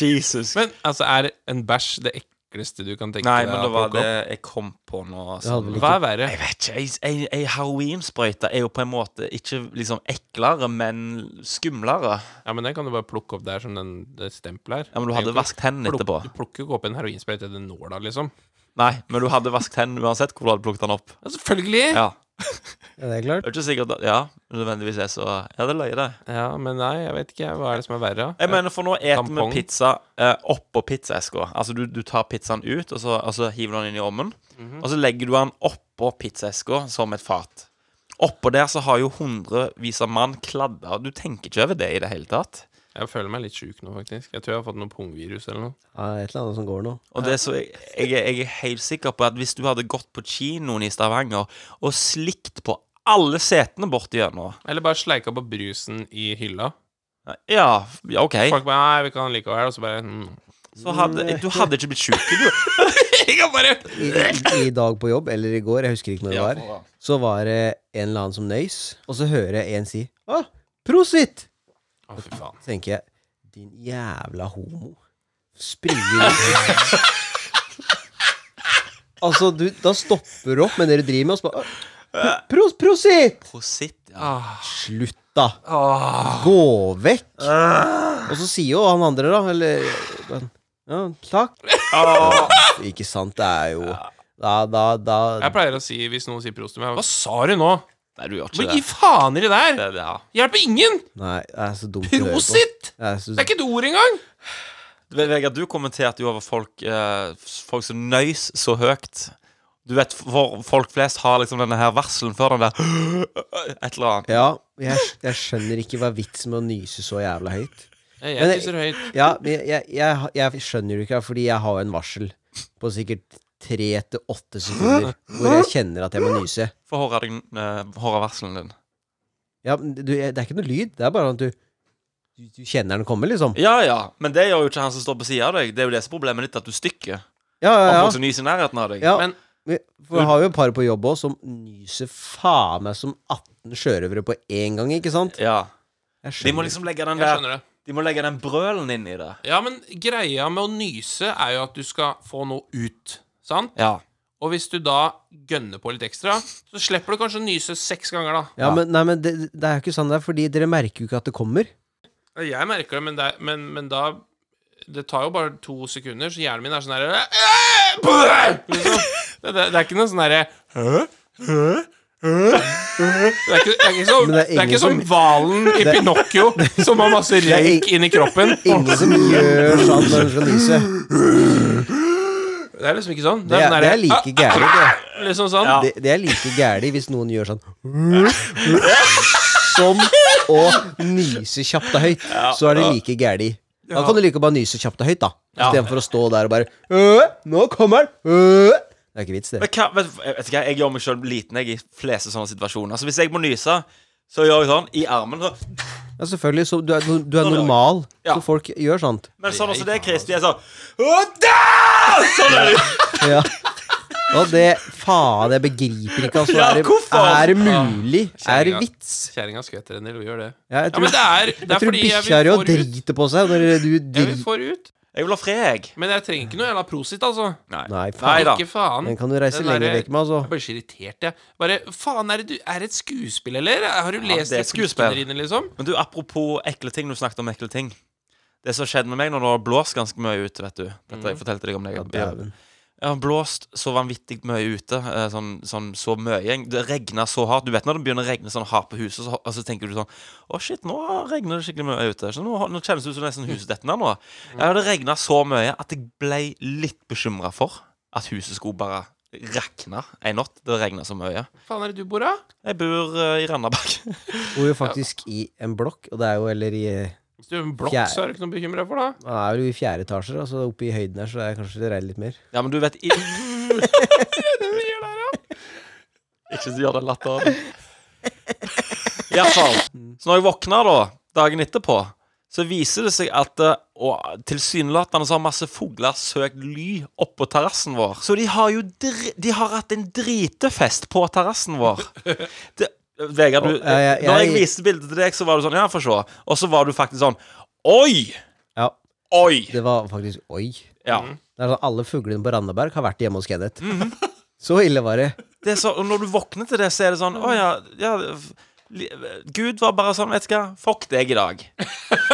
Jesus
Men altså, er en bæsj det ekleste du kan tenke
Nei,
deg?
men
å
det var
plukke
det
opp?
jeg kom på nå.
Det
Som,
hadde vel
Hva
ikke
er verre?
jeg vet ikke. ei- Ei ei heroinsprøyte er jo på en måte ikke liksom eklere, men skumlere.
Ja, men Den kan du bare plukke opp der som den, det stempelet er.
Ja, Men du hadde
Egentlig.
vasket hendene
Plukk-
etterpå.
Du plukker jo ikke opp en heroinsprøyte etter nåla, liksom.
Nei, men du hadde vasket hendene uansett hvor du hadde plukket den opp.
Ja, selvfølgelig! Ja.
Ja,
Ja, det er klart.
Det er ikke sikkert at, ja, nødvendigvis er så Ja, det løy, det.
men nei, jeg vet ikke. Hva er det som er verre?
Jeg mener, for nå eter vi
Eh, Tampong.
pizza eh, oppå pizzaeska. Altså, du, du tar pizzaen ut, og så, og så hiver du den inn i ovnen.
Mhm.
Og så legger du den oppå pizzaeska som et fat. Oppå der så har jo hundrevis av mann kladder. Du tenker ikke over det i det hele tatt.
Jeg føler meg litt sjuk nå, faktisk. Jeg tror jeg har fått noe pungvirus eller noe.
Ja, det er et eller annet som går nå.
Og det er så, jeg, jeg, er- jeg er helt sikker på at hvis du hadde gått på kinoen i Stavanger og slikt på alle setene borti gjennom
Eller bare sleika på brusen i hylla.
Ja, ja, OK.
Folk bare Nei, vi kan likevel. Og så bare mm.
Så hadde, du hadde ikke blitt sjuk, du.
Jeg kan bare
I, i, I dag på jobb, eller i går, jeg husker ikke når det
Ja,
var,
for da.
så var det en eller annen som nøys, og så hører jeg en si Å, prosit!
Å, fy faen.
Så tenker jeg, din jævla homo. Springer ut. Altså, du, da stopper du opp med det du driver med, og så bare «Å, Pros, prosit!
Prosit, ja.
Ah,
Slutt, da. Gå vekk. Og så sier jo han andre, da, eller men, Ja, takk. Ikke sant, det er jo Da, da, da
Jeg pleier å si, hvis noen sier prost til meg Hva sa du nå?
Nei, du gjør ikke
Men gi
det.
faen i det der!
Det- Ja.
Hjelper ingen!
Nei, det er så dumt å høre på.
Prosit!
Det er så,
Det er ikke et ord engang!
Ve- Vegard, du kommenterte jo over folk, eh, f- folk som nøys så høyt. Du vet, for folk flest har liksom denne her varselen før den der Et eller annet.
ja, jeg, jeg skjønner ikke hva er vitsen med å nyse så jævla høyt.
Jeg
Men-
tisser høyt.
Ja, men jeg, jeg, jeg, jeg skjønner det ikke, fordi jeg har jo en varsel på sikkert tre til åtte sekunder hvor jeg kjenner at jeg må nyse.
Få høre deg, eh, høre varselen din.
Ja, men du, jeg- det er ikke noe lyd. Det er bare at du, du, du kjenner den komme, liksom.
Ja, ja, men det gjør jo ikke han som står på sida av deg. Det er jo det som er problemet ditt, at du stykker.
Ja,
Om
ja,
folk
ja.
som nyser i nærheten av deg.
ja.
Men-
Vi- for jeg har jo et par på jobb òg som nyser faen meg som 18 sjørøvere på én gang, ikke sant?
Ja.
Jeg
De må
skjønner.
liksom legge den
Jeg
der
skjønner det.
De må legge den brølen inn i det.
Ja, men greia med å nyse er jo at du skal få noe ut, sant?
Ja.
Og hvis du da gønner på litt ekstra, så slipper du kanskje å nyse seks ganger, da.
Ja, men, nei, men det, det er jo ikke sånn det er, fordi dere merker jo ikke at det kommer.
Jeg merker det, men, det, er- men, men da Det tar jo bare to sekunder, så hjernen min er sånn herre liksom. det, det, det er ikke noe sånn herre Hæ? Hæ? Hæ? Det er ikke, det er ikke,
Men
så, det
det er
er ikke
ingen
som
som-
hvalen i Pinocchio som har masse røyk inni kroppen.
Ingen som gjør sånn når de skal nyse.
Det er liksom ikke sånn.
Det er,
sånn
det
herre,
er like gærent. Det.
«Ah!» Liksom sånn.
Ja.
Det, det er like gærent hvis noen gjør sånn Som å nyse kjapt og høyt. Så er det like gærent. Da kan du like bare nyse kjapt og høyt, da.
Ja.
Istedenfor å stå der og bare «Øh, Nå kommer den! Øh!» Det er ikke vits, det.
Men hva, vet, vet du hva, jeg gjør meg sjøl liten jeg, i fleste sånne situasjoner. Så hvis jeg må nyse, så gjør jeg sånn i armen. Så.
Ja, selvfølgelig. Så du er, du er normal, så
Ja.
folk gjør sånt.
Men sånn som det, Chris, de er sånn
altså.
«Å, da!» Sånn er det.
Ja. Og det Faen, jeg begriper ikke. Altså,
Ja,
er,
hvorfor?
det, er det mulig? Er det
Kjerringa.
vits?
Kjerringa skvetter en del, og gjør det.
Ja, jeg
Ja,
tror,
men det er, det
jeg
er
tror
fordi jeg
bikkja
vil
di
få ut.
driter på seg når du
Jeg vil
driter
få ut.
Jeg vil ha fred, jeg.
Men jeg trenger ikke noe jævla prosit, altså.
Nei,
Nei
faen.
da.
Ikke faen.
Den kan du reise
Den
lenger
derre-
vekk med, altså.
Jeg blir så irritert, jeg. Bare faen, er det, du, er det et skuespill, eller? Har du lest
det er
ja,
et skuespill.
dine, liksom?
Men du, apropos ekle ting. Du snakket om ekle ting. Det som skjedde med meg når det har blåst ganske mye ute, vet du Dette jeg fortalte deg om det.
Ja,
Jeg,
dæven.
jeg har blåst så vanvittig mye ute. eh, Sånn, sånn så mye. Det regna så hardt. Du vet når det begynner å regne sånn hardt på huset, så, og så tenker du sånn Å, shit, nå regner det skikkelig mye ute. Så nå, nå kjennes det ut som nesten huset detter ned nå. Ja, det regna så mye at jeg ble litt bekymra for at huset skulle bare rakne en natt. Det regna så mye.
Faen er det du bor, da?
Jeg bor eh, i Randaberg.
Bor jo faktisk i en blokk, og det er jo eller i
Hvis du er en blokk,
Fjerde.
så er du ikke noe bekymra for, da.
Det er jo i fjerde etasje, da, så oppe i høyden her, så det er kanskje det regner litt mer.
Ja, men du vet i... Ikke gjør den latteren. I hvert fall. Så når jeg våkner da, dagen etterpå, så viser det seg at eh, og tilsynelatende så har masse fugler søkt ly oppå terrassen vår. Så de har jo dri de har hatt en dritefest på terrassen vår. Det, Vegard, du,
Å, ja, ja,
når jeg
jeg-
viste bildet til deg, så var du sånn Ja, få se. Og så var du faktisk sånn Oi!
Ja,
Oi!
det var faktisk Oi.
Ja.
Det er sånn, Alle fuglene på Randaberg har vært hjemme hos Kenneth.
Mhm.
Så ille var det.
det er så, og når du våkner til det, så er det sånn Å ja, ja f- li- Gud var bare sånn, vet du hva, fuck deg i dag.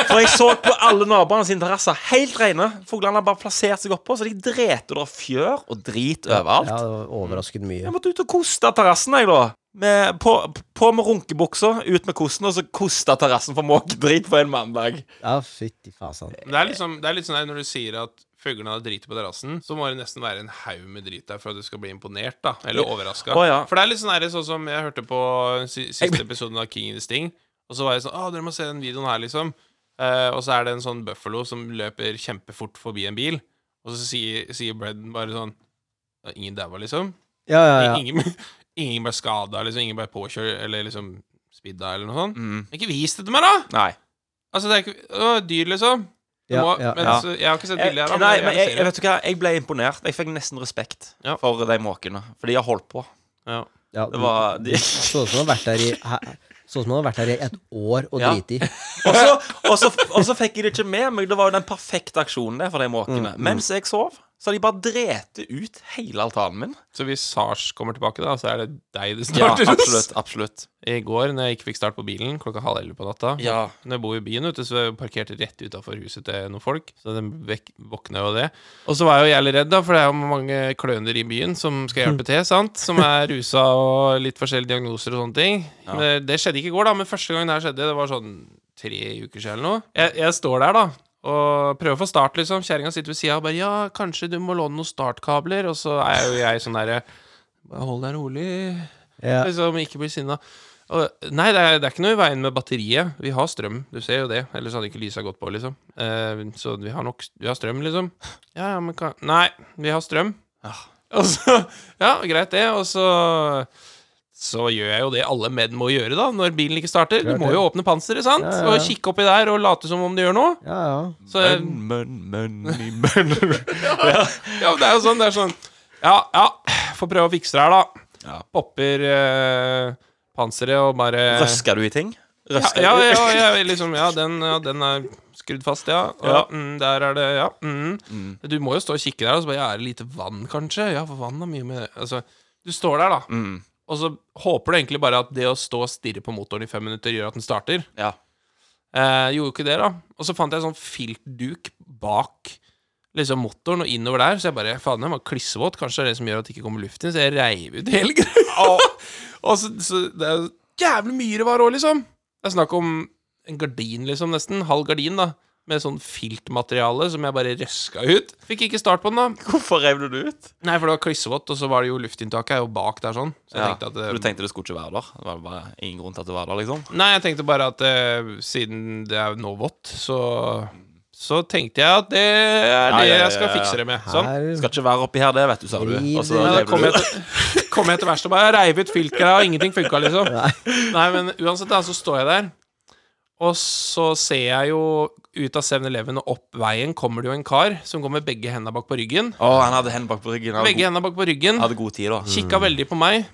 For jeg så på alle naboene sine terrasser, helt rene. Fuglene har bare plassert seg oppå, så de dreter og det er fjør og drit
Ja,
overalt.
det var overraskende mye.
Jeg måtte ut og koste terrassen, jeg, da. Med, på, på med runkebuksa, ut med kosten, og så koste terrassen for måkedrit på en mandag.
Ja, fytti fasan.
Men det er, liksom, det er litt sånn her når du sier at fuglene har drit på terrassen, så må det nesten være en haug med drit der for at du skal bli imponert, da. Eller overraska.
Å, ja.
For det er litt sånn her, sånn som jeg hørte på si-
Jeg-
siste episoden av King in the Sting, og så var jeg sånn Å, dere må se den videoen her, liksom. Eh, og så er det en sånn buffalo som løper kjempefort forbi en bil, og så sier, sier Bredden bare sånn «Ja, Ingen daua, liksom.
Ja, ja, ja.
Ingen, ingen ble skada, liksom. Ingen ble påkjørt, eller liksom spidda, eller noe sånt.
Mm.
Men Ikke vis det til meg, da!
Nei.
Altså, det er ikke Å, dyr, liksom. Du
ja,
må,
ja,
men
ja.
så, jeg har ikke sett
Jeg,
bildet her. da,
Eh, nei,
jeg
men
vil
jeg,
se
jeg
det.
vet du hva, jeg ble imponert. Jeg fikk nesten respekt
Ja.
for de måkene, for de har holdt på.
ja.
ja
Det var de,
Sånn som han har vært her i hæ? Sånn som han har vært her i et år og
Ja.
driti.
Og så- Og så og så fikk jeg det ikke med meg. Det var jo den perfekte aksjonen der for de måkene. Mens jeg sov, så har de bare drete ut hele altanen min.
Så hvis Sars kommer tilbake, da, så er det deg det
Ja,
starter hos.
absolutt. absolutt
I går, når jeg ikke fikk start på bilen klokka halv elleve på natta
Ja.
Når jeg bor i byen, ute, så jeg parkerte rett utafor huset til noen folk. Så den vek- våkna jo av det. Og så var jeg jo jævlig redd, da, for det er jo mange kløner i byen som skal hjelpe til, sant? Som er rusa og litt forskjellige diagnoser og sånne ting.
Ja.
Men det skjedde ikke i går, da, men første gang det her skjedde, det var sånn tre uker siden eller noe. Jeg, jeg står der, da. Og prøver å få start, liksom. Kjerringa sitter ved sida og bare 'Ja, kanskje du må låne noen startkabler?' Og så er jo jeg sånn derre «Bare Hold deg rolig.
Ja.
Liksom, ikke bli sinna. Og, nei, det er, det er ikke noe i veien med batteriet. Vi har strøm, du ser jo det. Ellers hadde ikke lysa gått på, liksom. Eh, så vi har nok Vi har strøm, liksom. Ja, ja, men hva Nei, vi har strøm.
Ja.
Og så, ja, greit det. Og så så gjør jeg jo det alle menn må gjøre da når bilen ikke starter. Du
Klart
må
det.
jo åpne panseret, sant?
Ja, ja, ja.
Og kikke oppi der og late som om du gjør noe.
Ja, ja.
Så jeg,
men, men, men, ja.
ja, men det er jo sånn. Det er sånn Ja, ja, får prøve å fikse det her, da.
Ja.
Popper eh, panseret og bare
Røsker du i ting? Røsker
ja,
du?
ja, ja, ja, liksom, ja, den, ja, den er skrudd fast, ja. ja.
Ja.
mm, der er det, ja. Mm. Du må jo stå og kikke der, og så bare Ja, er det lite vann, kanskje? Ja, for vann er mye med Altså, du står der, da,
Mm.
og så håper du egentlig bare at det å stå og stirre på motoren i fem minutter gjør at den starter.
Ja.
Eh, gjorde jo ikke det, da. Og så fant jeg sånn filtduk bak liksom motoren og innover der, så jeg bare Faen, den var klissvåt. Kanskje det er det som gjør at det ikke kommer luft inn, så jeg reiv ut hele greia. og så, så Det er jo jævlig mye det var òg, liksom. Det er snakk om en gardin, liksom, nesten. Halv gardin, da. Med sånn filtmateriale som jeg bare røska ut. Fikk ikke start på den, da.
Hvorfor rev du det ut?
Nei, for det var klissvått, og så var det jo luftinntaket er jo bak der, sånn. Så jeg
Ja.
tenkte at eh,
Du tenkte det skulle ikke være der? Det var bare ingen grunn til at det var der, liksom?
Nei, jeg tenkte bare at eh, siden det er nå vått, så Så tenkte jeg at det er
Ja,
det
ja, ja,
jeg skal
ja, ja.
fikse det med. Sånn.
Her
Skal ikke være oppi her, det vet du, sa du.
Riv
Og så
det.
Nei, da
rev
kom
du
jeg
ut.
til, kom jeg til verkstedet og bare reiv ut filtgreia, og ingenting funka, liksom. Nei. men uansett, da, så står jeg der, og så ser jeg jo ut av 7-Eleven og opp veien kommer det jo en kar som går med begge henda bak på ryggen.
Å, han hadde hendene bak på ryggen. Han
Begge
hadde,
henda bak på ryggen.
god, hadde god tid, da.
Kikka veldig på meg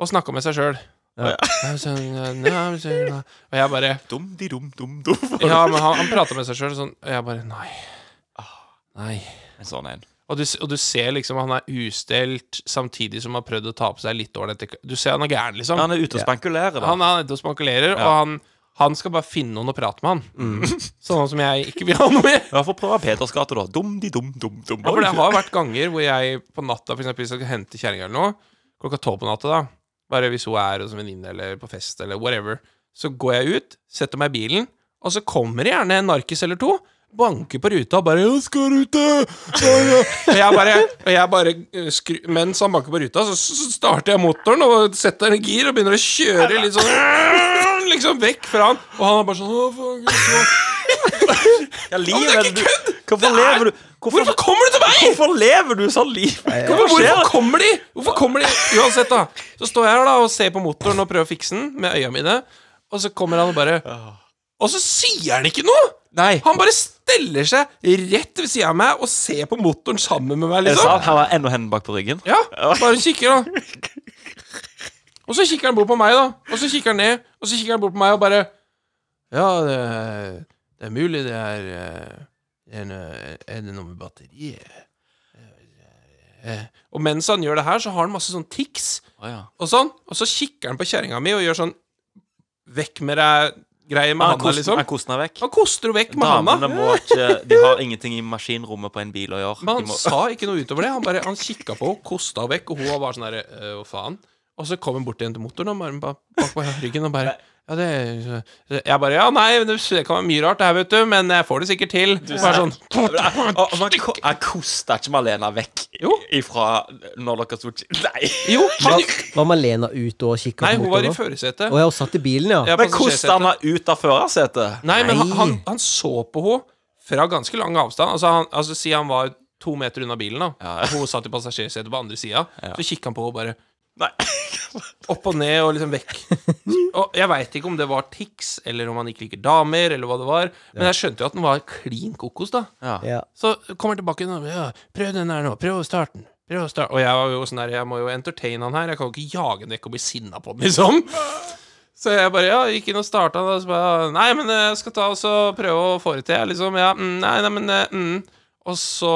og snakka med seg sjøl.
Ja.
Og jeg bare
Dum, di, dum, dum, dum.
Ja, men han, han prater med seg sjøl sånn, og jeg bare Nei. Nei.
En sånn en.
Og du, s- og du ser liksom han er ustelt samtidig som han har prøvd å ta på seg litt ålreit Du ser han er gæren, liksom.
Ja,
Han,
han er ute og spankulerer, da.
han er ute og spankulerer, og han, han skal bare finne noen å prate med, han. Sånn som jeg ikke vil ha noe med.
Ja, Få prøve Peters gate, da. Dum, di, dum, dum, dum.
Ja, for det har vært ganger hvor jeg på natta for eksempel, hvis jeg skal hente kjerringa eller noe, klokka tolv på natta, da, bare hvis hun er hos en venninne eller på fest eller whatever, så går jeg ut, setter meg i bilen, og så kommer det gjerne en narkis eller to, banker på ruta og bare 'Jeg skal rute!' Og jeg bare, og jeg bare eh, skru, Mens han banker på ruta, så s- s- starter jeg motoren og setter den i gir og begynner å kjøre litt sånn Liksom vekk fra han, og han er bare sånn «Å, faen, Gud, så-
Ja,
men
livet,
det er ikke
du- Hvorfor lever du
Hvorfor kommer du til meg?!
Hvorfor lever du sånn liv?
Ja, men
Hvorfor skjer
hvorfor
det?
kommer de? Hvorfor kommer de? Uansett, da. Så står jeg her da og ser på motoren og prøver å fikse den med øya mine, og så kommer han og bare Og så sier han ikke noe!
Nei.
Han bare steller seg rett ved sida av meg og ser på motoren sammen med meg,
Er det sant?
liksom.
Han har ennå hendene bak på ryggen.
Ja, bare kikker, da. Og så kikker han bort på meg, da. Og så kikker han ned, og så kikker han bort på meg og bare Ja, det er, det er mulig det er eh, en, eh, Er det noe med batteriet? Eh, eh. Og mens han gjør det her, så har han masse sånn tics
Å, ja.
og sånn. Og så kikker han på kjerringa mi og gjør sånn Vekk med deg-greie med
Han
handa,
kosten,
liksom.
han kosten er vekk.
Han koster henne vekk med
Ah, Damene
handa.
må ikke De har ingenting i maskinrommet på en bil å gjøre.
Men
De
han
må,
sa ikke noe utover det. Han bare, han kikka på henne, kosta henne vekk, og hun var bare sånn derre «Øh, Hva faen? Og så kom hun bort igjen til motoren og bare, bare bak på ryggen og bare ja, det er- Jeg bare Ja, nei, det det kan være mye rart, det her, vet du, men jeg får det sikkert til. Bare sånn
Å, men ko- han kosta ikke Malena vekk
Jo. ifra
ifra når dere sto Nei!
Jo, han
Var Malena ute og kikka
Nei, hun var i
motoren da?
førersetet.
Å ja, hun satt i bilen, ja.
Jeg er
Men kosta
passasjersetet.
han henne ut av førersetet?
Nei, men han,
Nei.
han, han så på henne fra ganske lang avstand. Altså, han, altså Si han var to meter unna bilen, da.
Ja.
Og hun satt i passasjersetet på andre sida. Så kikka han på henne bare
Nei.
opp og ned og liksom vekk. Og jeg veit ikke om det var tics, eller om han ikke liker damer, eller hva det var. Men jeg skjønte jo at den var klin kokos, da.
Ja.
Så kommer han tilbake og ja, 'Prøv den her nå. Prøv å starte den.' Prøv å starte. Og jeg var jo sånn der, jeg må jo entertaine han her. Jeg kan jo ikke jage den vekk og bli sinna på den, liksom. Så jeg bare ja, gikk inn og starta den, og så bare 'Nei, men eh, jeg skal ta og så prøve å få det til, jeg', liksom. Ja, mm, nei, nei, men eh, mm. Og så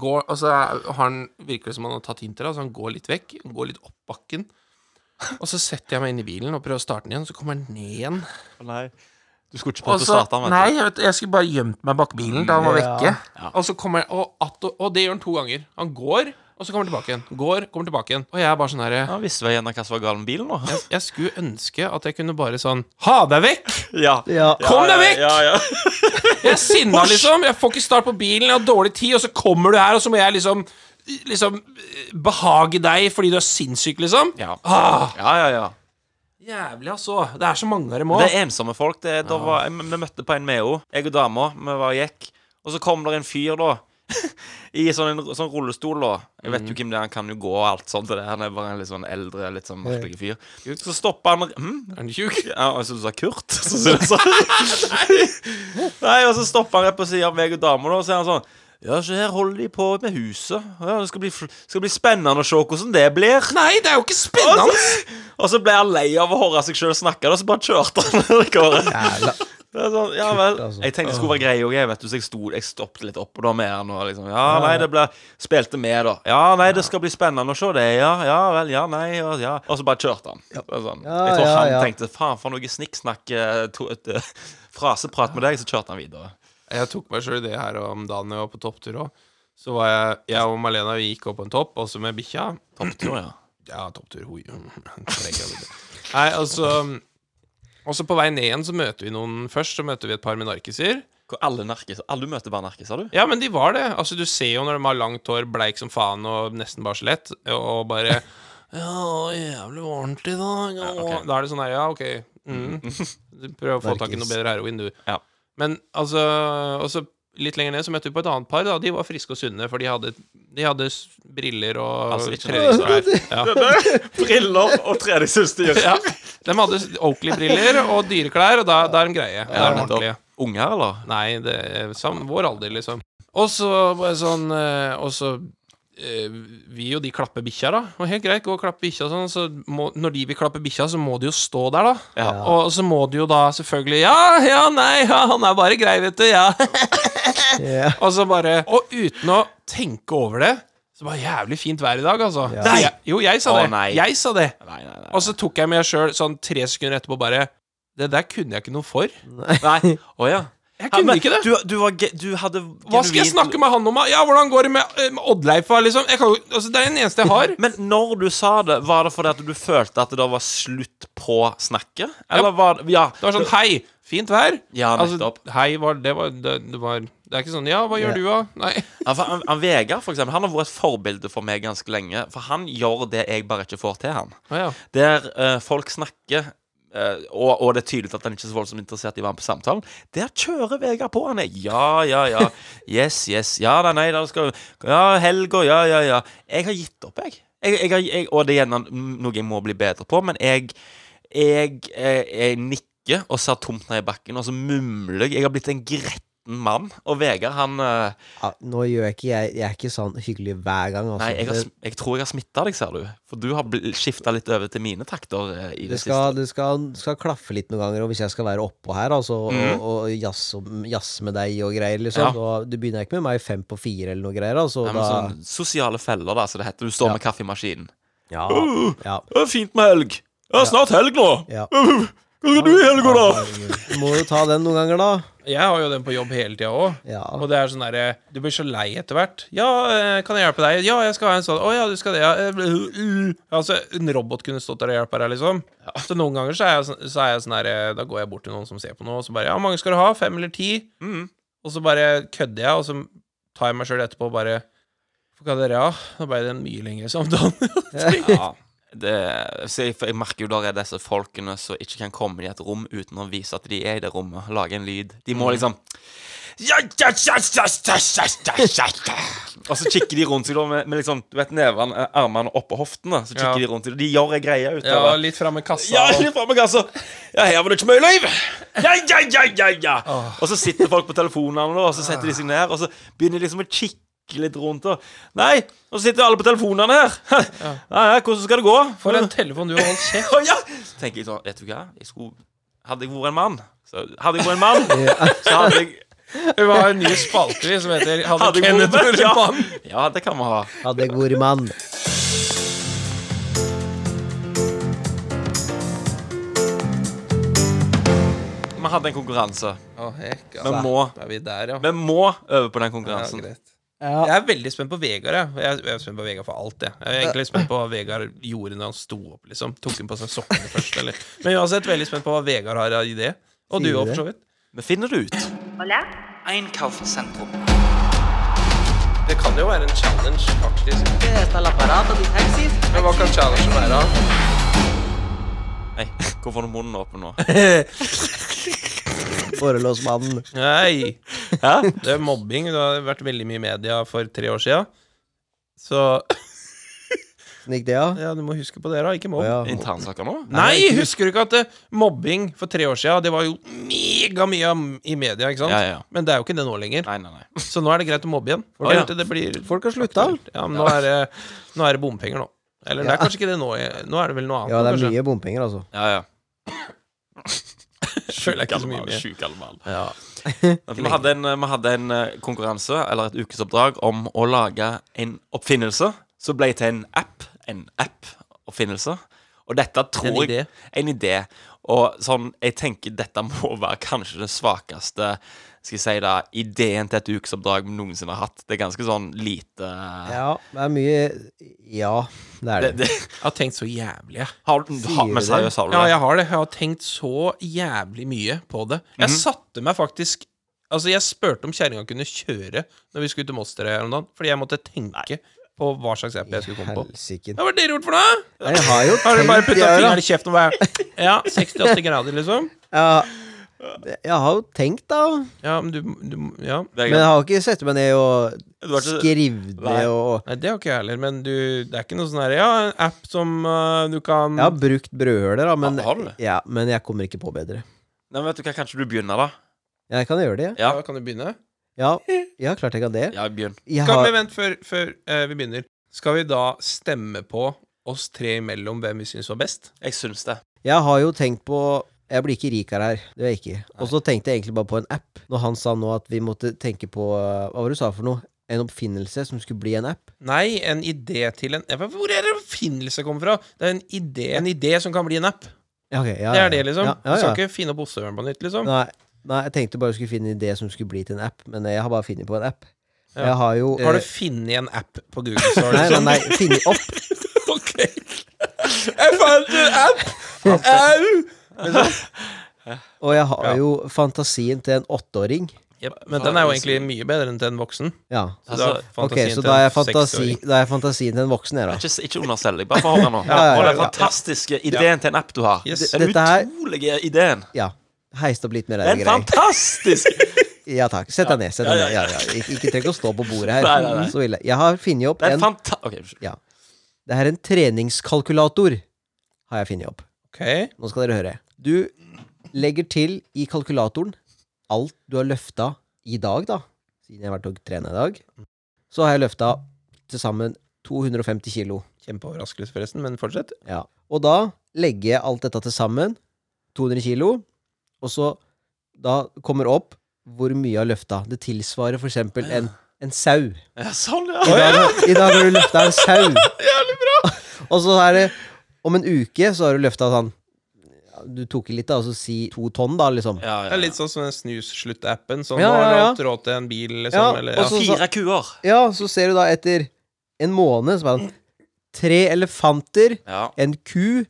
går Og så er- har han virker det som han har tatt hintet, da, så han går litt vekk. Går litt opp bakken. Og så setter jeg meg inn i bilen og prøver å starte den igjen, og så kommer han ned igjen.
Nei. Du skulle ikke
Og
prøvd å
så,
starte den, vet
nei,
du.
jeg, vet, jeg skulle bare gjemt meg bak bilen da han var
Ja.
vekke. Og så kommer jeg, og, at, og det gjør han to ganger. Han går, og så kommer han tilbake igjen. Går, kommer tilbake igjen. Og jeg er bare sånn herre
Han visste vel gjennom hva som var galt med bilen nå.
Jeg skulle ønske at jeg kunne bare sånn Ha deg vekk!
Ja.
ja.
Kom deg vekk!
Ja, ja.
Jeg er sinna, liksom. Jeg får ikke start på bilen, jeg har dårlig tid, og så kommer du her, og så må jeg liksom Liksom behage deg fordi du er sinnssyk, liksom.
Ja.
Ah,
ja, ja, ja.
jævlig, altså. Det er så mange av dem
Det
òg.
er ensomme folk. Det, da var, vi møtte på en med henne, jeg og dama. Vi var og gikk. Og så kom der en fyr, da. I sånn, en, sånn rullestol, da. Jeg vet jo hvem det er, han kan jo gå og alt sånt. og Det. Han er bare en litt sånn eldre, litt sånn merkelig fyr. Så stopper han hm?
Er den tjukk?
Ja, og så du sa Kurt? Så synes jeg Nei. Nei, og så stopper han rett på siden av meg og dama, da, og så er han sånn ja, så her holder de på med huset. Ja, det skal bli, fl- skal bli spennende å se hvordan det blir.
Nei, det er jo ikke
Og
spennende!
så, og så ble han lei av å høre seg sjøl snakke, da, så bare kjørte han. over gården.
Jævla.
Det er sånn, ja vel.
altså.
Jeg tenkte det skulle være grei òg, jeg, vet du, så jeg, sto, jeg stoppet litt opp og da med han. Og liksom, ja, nei, det ble Spilte med, da. Ja, nei, det skal bli spennende å se det. Ja, ja vel, ja, nei, ja, ja. Og så bare kjørte han. Det er Sånn.
Ja,
Jeg tror
ja,
han
ja.
tenkte faen, for noe snikksnakk, eh, to- et, eh, fraseprat med deg, så kjørte han videre.
Jeg tok meg sjøl i det her om dagen jeg var på topptur òg. Så var jeg, jeg og Malena vi gikk opp på en topp, også med bikkja.
Topptur, ja.
Ja, topptur hoi. Nei, altså Og så på vei ned igjen så møter vi noen først. Så møter vi et par med narkiser.
Hvor alle narkiser Alle møter bare narkiser, du?
Ja, men de var det. Altså, du ser jo når de har langt hår, bleik som faen og nesten bare skjelett, og bare Ja, jævlig varmt i dag. Ja,
ok.
Da er det sånn her, ja, OK. Mm. Du prøver å få tak i noe
Narkis.
bedre heroin, du.
Ja.
Men altså Og så litt lenger ned så møtte vi på et annet par. da De var friske og sunne, for de hadde, de hadde s- briller og
Altså, ikke
treningsklær. Ja.
Briller og treningsutstyr.
ja. De hadde s- Oakley-briller og dyreklær, og da, da er de greie. Da er de
nettopp.
ordentlige.
Unger, eller?
Nei, det er sam, vår alder, liksom. Og så bare sånn eh, Og så eh, vi og de klapper bikkja, da. Og helt greit, gå og klappe bikkja og sånn. Så må, når de vil klappe bikkja, så må de jo stå der, da.
Ja.
Og så må de jo da selvfølgelig Ja, ja, nei, ja, han er bare grei, vet du. Ja.
Ja.
Og så bare Og uten å tenke over det, så var det jævlig fint vær i dag, altså.
Ja.
Så Jeg, jo, jeg sa
Å,
det.
nei.
Jeg sa det.
Nei, nei, nei.
Og så tok jeg meg sjøl sånn tre sekunder etterpå bare Det der kunne jeg ikke noe for.
nei. Å ja.
Jeg kunne
men
ikke det.
Du, du, var, ge- du hadde
Hva skal jeg
genuint-
snakke med han om? da? Ja, hvordan går det med, eh, med Oddleifa, liksom? Jeg kan, jo- altså, det er den eneste jeg har.
Men når du sa det, var det fordi at du følte at det var slutt på snakket? Eller var det Ja.
Det var sånn hei, fint vær.
Ja,
altså,
nettopp.
hei var det var, det, det var Det er ikke sånn ja, hva gjør
Ja.
du da? Nei.
Ja, for han, han Vegard, for eksempel, han har vært et forbilde for meg ganske lenge. For han gjør det jeg bare ikke får til, han.
Å ja.
Der eh, folk snakker eh, og, og det er tydelig at han ikke er så voldsomt interessert i å være med på samtalen. Der kjører Vegard på. Han er ja, ja, ja. Yes, yes. Ja, nei, nei, da skal Ja, helga, ja, ja, ja. Jeg har gitt opp, jeg. jeg, jeg, har- jeg og det er gjerne noe jeg må bli bedre på, men jeg Jeg, jeg, jeg nikker og ser tomt ned i bakken, og så mumler jeg. Jeg har blitt en gretten mann. Og Vegard, han eh,
Ja, nå gjør jeg ikke jeg, jeg er ikke sånn hyggelig hver gang. Altså.
Nei, jeg, har,
Det-
sm- jeg tror jeg har smitta deg, ser du. For du har skifta litt over til mine takter eh, i det,
det skal, det skal, skal klaffe litt noen ganger, og hvis jeg skal være oppå her altså,
Mhm.
og, og jazze om- jazze med deg og greier, liksom,
Ja.
da, du begynner ikke med meg fem på fire eller noe greier. Altså,
Ja, men
da,
sånn sosiale feller, da, som det heter. Du står
Ja.
med kaffemaskinen.
ja, ja,
Det er fint med helg. Det er snart helg nå.
ja.
Hva skal du i helga, da?
Du må jo ta den noen ganger, da.
Jeg har jo den på jobb hele tida òg.
Ja.
Og det er sånn derre Du blir så lei etter hvert. Ja, eh, kan jeg hjelpe deg? Ja, jeg skal ha en sånn. Å ja, du skal det, ja. Eh, uh, uh. Altså, en robot kunne stått der og hjulpet deg, liksom. Så noen ganger så er jeg, sånn- så er jeg sånn herre Da går jeg bort til noen som ser på noe, og så bare Ja, hvor mange skal du ha? Fem eller ti?
Mm.
Og så bare kødder jeg, og så tar jeg meg sjøl etterpå og bare Hvorfor kan dere ha? Da ble det en mye lengre samtale.
Ja. Det, så jeg, for jeg merker jo der er disse folkene som ikke kan komme i et rom uten å vise at de er i det rommet. Lage en lyd. De må liksom ja, ja, ja, ja, ja, ja, ja, ja, ja. Og så kikker de rundt seg da med, med liksom, du vet, nevene, eh, armene oppå hoftene. Så kikker de
Ja.
rundt seg, og de gjør ei greie ut av
Ja,
det.
litt fram med kassa.
Ja,
og-
litt fram med gassa. altså- Ja, her var det ikke mye liv. Ja, ja, ja, ja, ja. Og så sitter folk på telefonene, da, og så setter de seg ned, og så begynner de liksom å kikke litt rundt. Og nei, og så sitter alle på telefonene her. Ja, ja, hvordan skal det gå?
For en telefon du har holdt kjeft.
Å, ja. Så tenker jeg sånn, vet du hva, jeg skulle Hadde jeg vært en mann, så hadde jeg vært en mann, så hadde jeg
Vi har en ny spalte vi som heter Hadde
Hadde
Kenneth
Goldberg,
vært
ja.
mann?
Ja, det kan vi ha.
Hadde god mann.
Vi hadde en konkurranse.
Å, hekk,
Vi
altså.
må, altså,
Er vi der, ja?
vi må øve på den
Ja,
konkurransen.
greit.
Ja.
Jeg er veldig spent på Vegard. Jeg. Jeg, er, jeg er spent på Vegard for alt. Jeg. jeg er egentlig spent på hva Vegard gjorde når han sto opp. liksom Tok han på seg sokkene først? Eller. Men uansett, veldig spent på hva Vegard har av idé. Og du
Sier du
òg,
det?
for så vidt.
Vi finner det ut.
Hola.
Einkaufszentrum.
Det kan jo være en challenge, faktisk.
¿Dónde está el aparato de taxis?
Men hva kan challengen være?
Nei, hvorfor er munnen åpen nå?
Borrelåsmannen.
Nei. Det er mobbing. Det har vært veldig mye i media for tre år sia. Så
Hvordan gikk det, da?
ja, du må huske på det, da. Ikke mobb.
Å, ja.
Internsaker nå?
Nei, husker du ikke at eh, mobbing for tre år sia, det var jo mega mye om- i media, ikke sant?
Ja, ja, ja.
Men det er jo ikke det nå lenger.
Nei, nei, nei.
Så nå er det greit å mobbe igjen. Folk,
Å, ja.
helt til det blir,
Folk har slutta.
ja, men nå er, det, nå er det bompenger nå. Eller det er kanskje ikke det nå. jeg- Nå er det vel noe annet.
Ja, det er
kanskje.
mye bompenger, altså.
Ja, ja.
Føler jeg ikke så mye med.
Sjuk allmann.
Ja.
Vi hadde, en, vi hadde en eh, konkurranse, eller et ukesoppdrag, om å lage en oppfinnelse som ble til en app. En app-oppfinnelse. Og dette tror
En idé.
jeg En idé. Og sånn, jeg tenker dette må være kanskje den svakeste skal jeg si da, ideen til et ukesoppdrag vi noensinne har hatt. Det er ganske sånn lite
Ja, det er mye Ja, det er
det,
det.
det,
Jeg har tenkt så jævlig, jeg.
har, du- har,
Sier
men
du det?
seriøst, har du
Ja,
det?
jeg har det. Jeg har tenkt så jævlig mye på det. Jeg satte meg faktisk Altså, jeg spurte om kjerringa kunne kjøre når vi skulle til Moster her om dagen, fordi jeg måtte tenke på hva slags app jeg skulle komme på.
Helsike.
Ja, Hva har dere gjort for noe?
Nei, Jeg har jo
Har dere bare
tenkt,
putta
jeg,
fingeren
da.
i kjeften og bare Ja, 68 grader, liksom?
Ja, jeg har jo tenkt, da.
Ja, men du, du Ja.
Det er
Men jeg
greit.
har ikke sett meg ned og
Du har ikke-
skrevet
Nei.
det og
Nei, det har ikke jeg heller, men du Det er ikke noe sånn herre Ja, en app som øh, du kan
Jeg har brukt brødhøler, da, men,
Har du det?
ja, men jeg kommer ikke på bedre.
Nei, men vet du hva, Kanskje du begynner, da?
Jeg kan gjøre det, jeg.
Ja, kan du begynne?
Ja, ja klart jeg kan det.
Ja, begynn.
Jeg
Skal vi
har,
vente før, før eh, vi begynner? Skal vi da stemme på oss tre imellom hvem vi syns var best?
Jeg syns det.
jeg har jo tenkt på Jeg blir ikke rik av det her. Det gjør jeg ikke. Og så tenkte jeg egentlig bare på en app. Når han sa nå at vi måtte tenke på eh, Hva var det du sa for noe? En oppfinnelse som skulle bli en app?
Nei, en idé til en Hva- Hvor er det oppfinnelse kommer fra? Det er en idé, en idé som kan bli en app.
Ja, ok, ja,
Det
ja,
er det, liksom.
Ja, ja,
Du skal
ja.
ikke finne opp ostehøren på nytt, liksom.
Nei, nei, jeg tenkte bare jeg skulle finne en idé som skulle bli til en app, men jeg har bare funnet på en app.
Ja.
Jeg har jo
Har du
eh,
funnet en app på Google Store?
Nei, nei,
liksom?
nei funnet opp.
Ok. Jeg fant en app! Au!
Og jeg har
Ja.
jo fantasien til en åtteåring.
Men den er jo egentlig mye bedre enn til en voksen.
Ja.
Så da
Altså,
er
Ok,
fantasien
så
til
da er,
en
jeg fantasi,
60-åring.
da er jeg fantasien til en voksen, jeg, da.
Ikke, ikke underselg deg, bare få høre nå.
Ja, ja, ja,
Og den
ja.
fantastiske ideen til en app du har.
Yes.
Den
Dette her-
utrolige ideen.
Ja. Heist opp litt mer, er
Den
det grei.
fantastiske
Ja takk. Sett deg ned. sett deg ned ja, ja. Ikke, ikke trenger å stå på bordet her.
Nei, nei, nei.
Så ille. Jeg har funnet opp
Den
en
fanta... Ok, unnskyld.
ja. Det her er en treningskalkulator. Har jeg funnet opp.
Ok.
Nå skal dere høre. Du legger til i kalkulatoren alt du har løfta i dag, da. Siden jeg har vært og trena i dag. Så har jeg løfta til sammen 250 kilo.
Kjempeoverraskelse, forresten, men fortsett.
Ja. Og da legger jeg alt dette til sammen, 200 kilo, og så da kommer opp hvor mye jeg har løfta. Det tilsvarer for eksempel en, en sau.
Ja, sånn,
I
ja.
dag, i dag har du løfta en sau. og så er det Om en uke så har du løfta sånn ja, Du tok i litt, da, og så si to tonn, da, liksom.
ja, ja,
Det er
ja.
litt sånn som den snusslutt-appen. Sånn,
Ja,
nå har
ja,
du
ja.
hatt råd til en bil, liksom.
Ja,
eller,
og
ja.
så-
Fire kuer.
Ja, så ser du da etter en måned så er det tre elefanter,
Ja.
en ku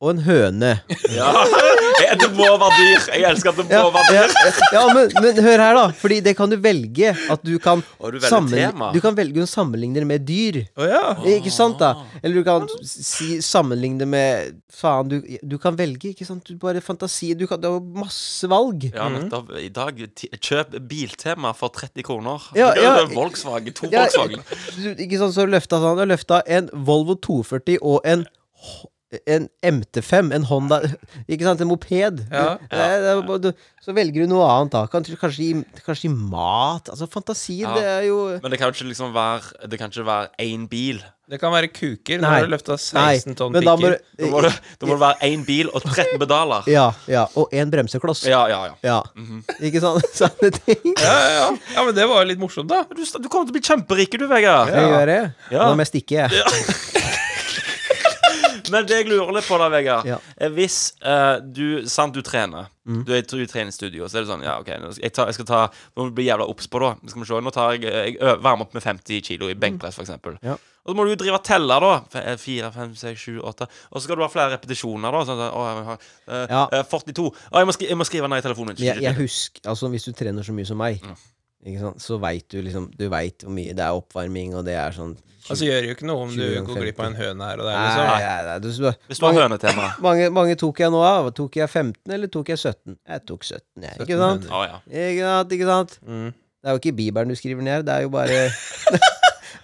og en høne.
ja. Ja, Det må være dyr. Jeg elsker at det må
Ja,
være
ja,
dyr.
ja men, men hør her, da. Fordi det kan du velge. At du kan,
Og du velger tema.
du kan velge å sammenligne det med dyr.
Å ja.
Eh, Ikke sant, da?
Ah.
Eller du kan si, sammenligne det med Faen, du, du kan velge, ikke sant? Du bare fantasi Du, kan, du har masse valg.
Ja, nettopp. I dag, ti- kjøp biltema for 30 kroner.
Ja,
Det er
ja.
Volkswagen. To
Ja, eh,
Volkswagen.
du- ikke sant, så har du løfta sånn. Du har løfta en Volvo 240 og en H- en MT5, en Honda Ikke sant, en moped.
Ja.
Det er- det er bare- du- så velger du noe annet da. Kanskje, kanskje, gi, kanskje gi mat. Altså, fantasien,
Ja.
det er jo
Men det kan jo ikke liksom være Det kan ikke være én bil.
Det kan være kuker. Nå
Nei.
har du løfta 16 tonn
men da må
pikker.
Da må det, da må det være én bil og 13 pedaler.
Ja, ja, og en bremsekloss. Ja.
Ja, Mhm. ja, ja.
Ikke sant? Sånne ting.
Ja, ja, ja. ja, men det var jo litt morsomt, da.
Du, du kommer til å bli kjemperike, du, Vegard.
Jeg gjør det.
Ja.
Da må jeg stikke, jeg.
Men det jeg lurer litt på da, Vegard
Ja.
eh, Hvis eh, du, sant, du trener Du er i treningsstudio, så er det sånn Ja, ok, nå skal jeg, ta, jeg skal ta Nå må du bli jævla obs på da Skal vi se, nå tar jeg, jeg ø- varmer opp med 50 kilo i benkpress for eksempel
Ja.
Og så må du jo drive og telle da F- eh, 4, 5, 6, 7, 8 Og så skal du ha flere repetisjoner da sånn, sånn, å, jeg har, eh,
Ja.
eh, 42 Å, jeg må, skri jeg må skrive ned i telefonen min Mm.
Men jeg, jeg husker Altså, hvis du trener så mye som meg, Ikke sant? Så veit du liksom Du veit hvor mye det er oppvarming, og det er sånn
Altså, gjør det jo ikke noe om du
20,
går glipp av en høne her og der,
Nei,
liksom.
nei, nei, du,
Hvis du har hønetema.
mange, mange tok jeg nå av? Tok jeg 15, eller tok jeg 17? Jeg tok 17, jeg. Ikke sant?
Å ja.
Ikke sant? ikke sant?
Mm.
Det er jo ikke Bibelen du skriver ned, det er jo bare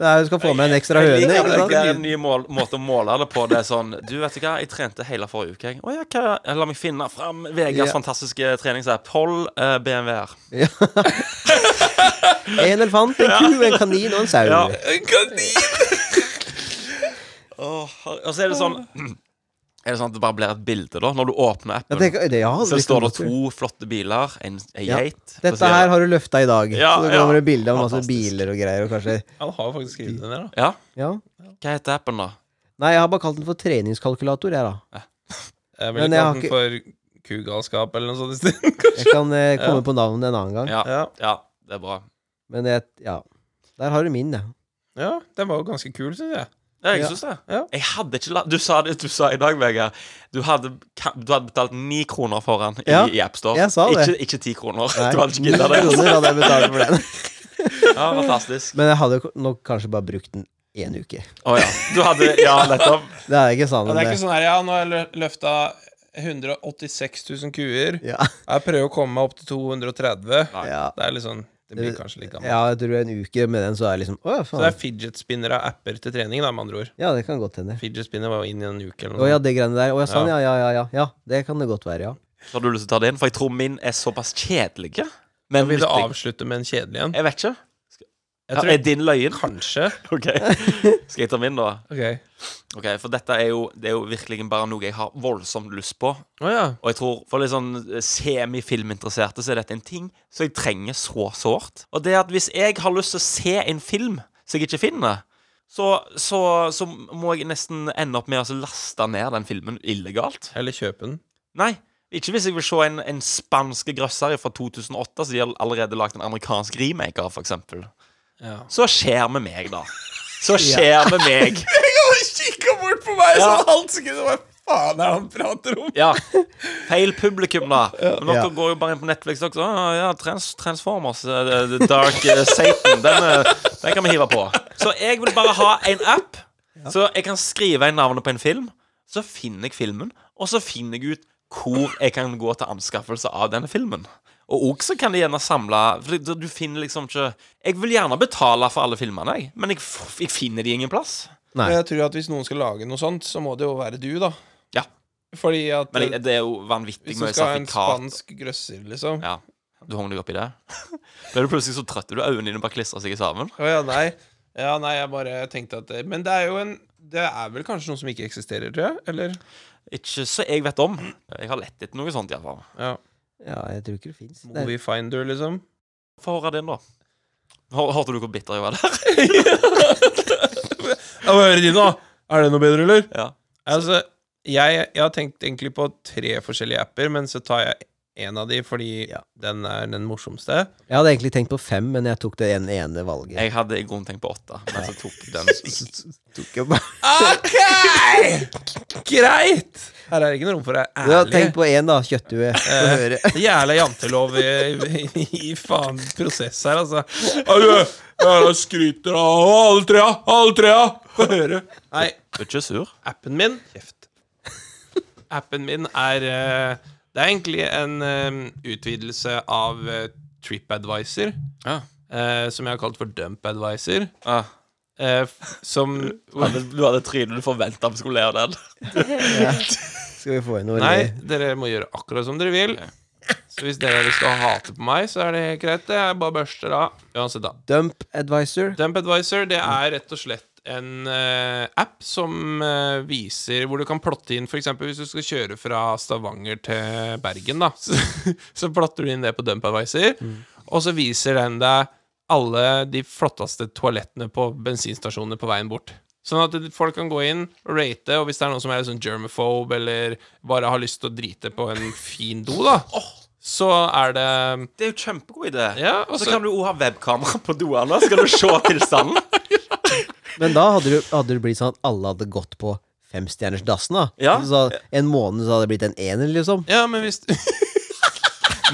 Det er jo Du skal få med en ekstra høne,
Ja, men
ikke
det er
sant?
en ny mål, måte å måle det på. Det er sånn Du, vet du hva, jeg trente hele forrige uke. jeg. Å ja, hva jeg La meg finne fram Vegas
Ja.
fantastiske treningsapp. Poll eh, BMWR.
En elefant, en ku, en kanin og en sau.
Ja. Åh, og så er det sånn Er det sånn at det bare blir et bilde, da? Når du åpner
Jeg liksom
appen,
tenker, det, ja,
så
vi kan
står det
godt gjøre.
to flotte biler, en ei
Ja.
geit på
Dette
siden.
her har du løfta i dag.
Ja,
så det kommer
ja.
et bilde av masse
Fantastisk.
biler og greier. Og kanskje,
Han har jo faktisk skrevet det ned, da.
Ja.
ja.
Hva heter appen, da?
Nei, jeg har bare kalt den for treningskalkulator, jeg, da.
Jeg
Men
ville
jeg har
kalt den for kugalskap eller noe sånt i stedet,
Jeg
kanskje.
kan eh, komme på navnet en annen gang.
Ja.
Ja.
ja, det er bra.
Men jeg, ja. Der har du min, jeg.
ja, den var jo ganske kul, syns jeg.
Ja, jeg
Ja.
syns det.
Ja.
Jeg hadde ikke la Du sa det du sa i dag, Vegard. Du hadde, ka- du hadde betalt ni kroner for den i,
Ja,
i AppStore.
jeg sa det.
Ikke, ikke ti kroner.
Nei,
Du hadde ikke
ni
gidda det.
kroner hadde jeg betalt for den.
Ja, fantastisk.
Men jeg hadde jo nok kanskje bare brukt den én uke.
Å ja. Du hadde Ja, nettopp.
Det er ikke sant.
Ja, det er ikke
sånn.
sånn her, ja, nå har jeg løfta 186 000 kuer.
Ja.
Jeg prøver å komme meg opp til 230.
Ja.
Det er litt sånn Det blir kanskje litt gammelt.
ja, jeg tror en uke med den, så er det liksom Å ja,
Så det er
faen.
fidget spinner av apper til trening, da, med andre ord.
Ja, det kan godt hende.
Fidget spinner var jo inn i en uke eller
Å
noe.
ja, det greiene der. Å ja, sånn,
Ja.
ja, ja, ja, ja. Ja, det kan det godt være, ja.
Har du lyst til å ta det inn? For jeg tror min er såpass kjedelig. Men
Vil du
nyttig.
avslutte med en kjedelig en?
Jeg vet ikke.
Jeg tror
er din løyen?
kanskje
OK. Skal jeg ta min, da?
Ok.
Ok, For dette er jo, det er jo virkelig bare noe jeg har voldsomt lyst på.
Å ja.
Og jeg tror for litt sånn semifilminteresserte så er dette en ting som jeg trenger så sårt. Og det er at hvis jeg har lyst til å se en film som jeg ikke finner, så, så, så må jeg nesten ende opp med å laste ned den filmen illegalt.
Eller kjøpe den.
Nei, ikke hvis jeg vil se en, en spansk grøsser fra 2008 som de har allerede lagd en amerikansk remake av, f.eks.
Ja.
Så skjer med meg, da. Så skjer med meg.
Kikka bort på meg
Ja.
sånn halvsekund! Hva faen er det han prater om?
Ja. Feil publikum, da. Men dere
Ja.
går jo bare inn på Netflix også. Ah, ja, trans Transformers, eh, The The Dark eh, Satan. Den, eh, den kan vi hive på. Så jeg vil bare ha en app, så jeg kan skrive inn navnet på en film. Så finner jeg filmen, og så finner jeg ut hvor jeg kan gå til anskaffelse av denne filmen. Og også så kan de gjerne samle For du- du finner liksom ikke Jeg vil gjerne betale for alle filmene, jeg, men jeg, f jeg finner de ingen plass.
Nei.
Men jeg tror at hvis noen skal lage noe sånt, så må det jo være du, da.
Ja.
Fordi at eh,
Men jeg, det er jo vanvittig
hvis du
mye
skal ha en
sertifikat
spansk grøsser, liksom
Ja. Du hang deg opp i det? Ble du plutselig så trøtt? Du Øynene dine bare klistrer seg sammen?
Å ja, nei. Ja, nei, jeg bare tenkte at det- Men det er jo en Det er vel kanskje noe som ikke eksisterer, tror jeg? Eller?
Ikke så jeg vet om. Jeg har lett etter noe sånt, iallfall.
Ja.
Ja, jeg tror ikke det fins.
Movie Finder, liksom.
Få høre din, da. Hør- Hørte du hvor bitter jeg var der?
Ja, Hva hører de nå? Er det noe bedre, eller?
Ja.
Altså, jeg, jeg har tenkt egentlig på tre forskjellige apper, men så tar jeg en av de fordi
Ja.
den er den morsomste.
Jeg hadde egentlig tenkt på fem, men jeg tok det ene, ene valget.
Jeg hadde i grunnen tenkt på åtte, men så tok jeg den.
tok jo bare
OK! Greit! Her er det ikke noe rom for å
Du har
være ærlig.
tenkt på én, da. Kjøtthue. Få høre.
Det er Jævla jantelov i, i, i faen prosess her, altså. Ja, du, Jeg skryter av alle trea, alle trea! Få høre. Nei,
Du er ikke sur?
appen min Kjeft. Appen min er eh, Det er egentlig en eh, utvidelse av eh, TripAdvisor,
Ja.
eh, som jeg har kalt for DumpAdvisor.
Ah.
eh, f- som
Du hadde, du hadde trynet du forventa vi skulle lære den.
Skal vi få inn noe?
Nei,
eller?
dere må gjøre akkurat som dere vil. Så hvis dere har lyst til å hate på meg, så er det helt greit. det. Jeg bare børster av. Uansett, da.
Dump Advisor.
Dump Advisor det er rett og slett en eh, app som eh, viser hvor du kan plotte inn F.eks. hvis du skal kjøre fra Stavanger til Bergen, da, så, så plotter du inn det på Dump Advisor, og så viser den deg alle de flotteste toalettene på bensinstasjonene på veien bort. Sånn at folk kan gå inn og rate, og hvis det er noen som er sånn germaphobe eller bare har lyst til å drite på en fin do, da, så er det
Det er jo kjempegod idé.
Ja, og
Så
så
kan du òg ha webkamera på doene. Skal du se tilstanden?
Men da hadde, du, hadde det blitt sånn at alle hadde gått på femstjerners dassen, da.
Ja.
Så en måned så hadde det blitt en ener, liksom.
Ja, men hvis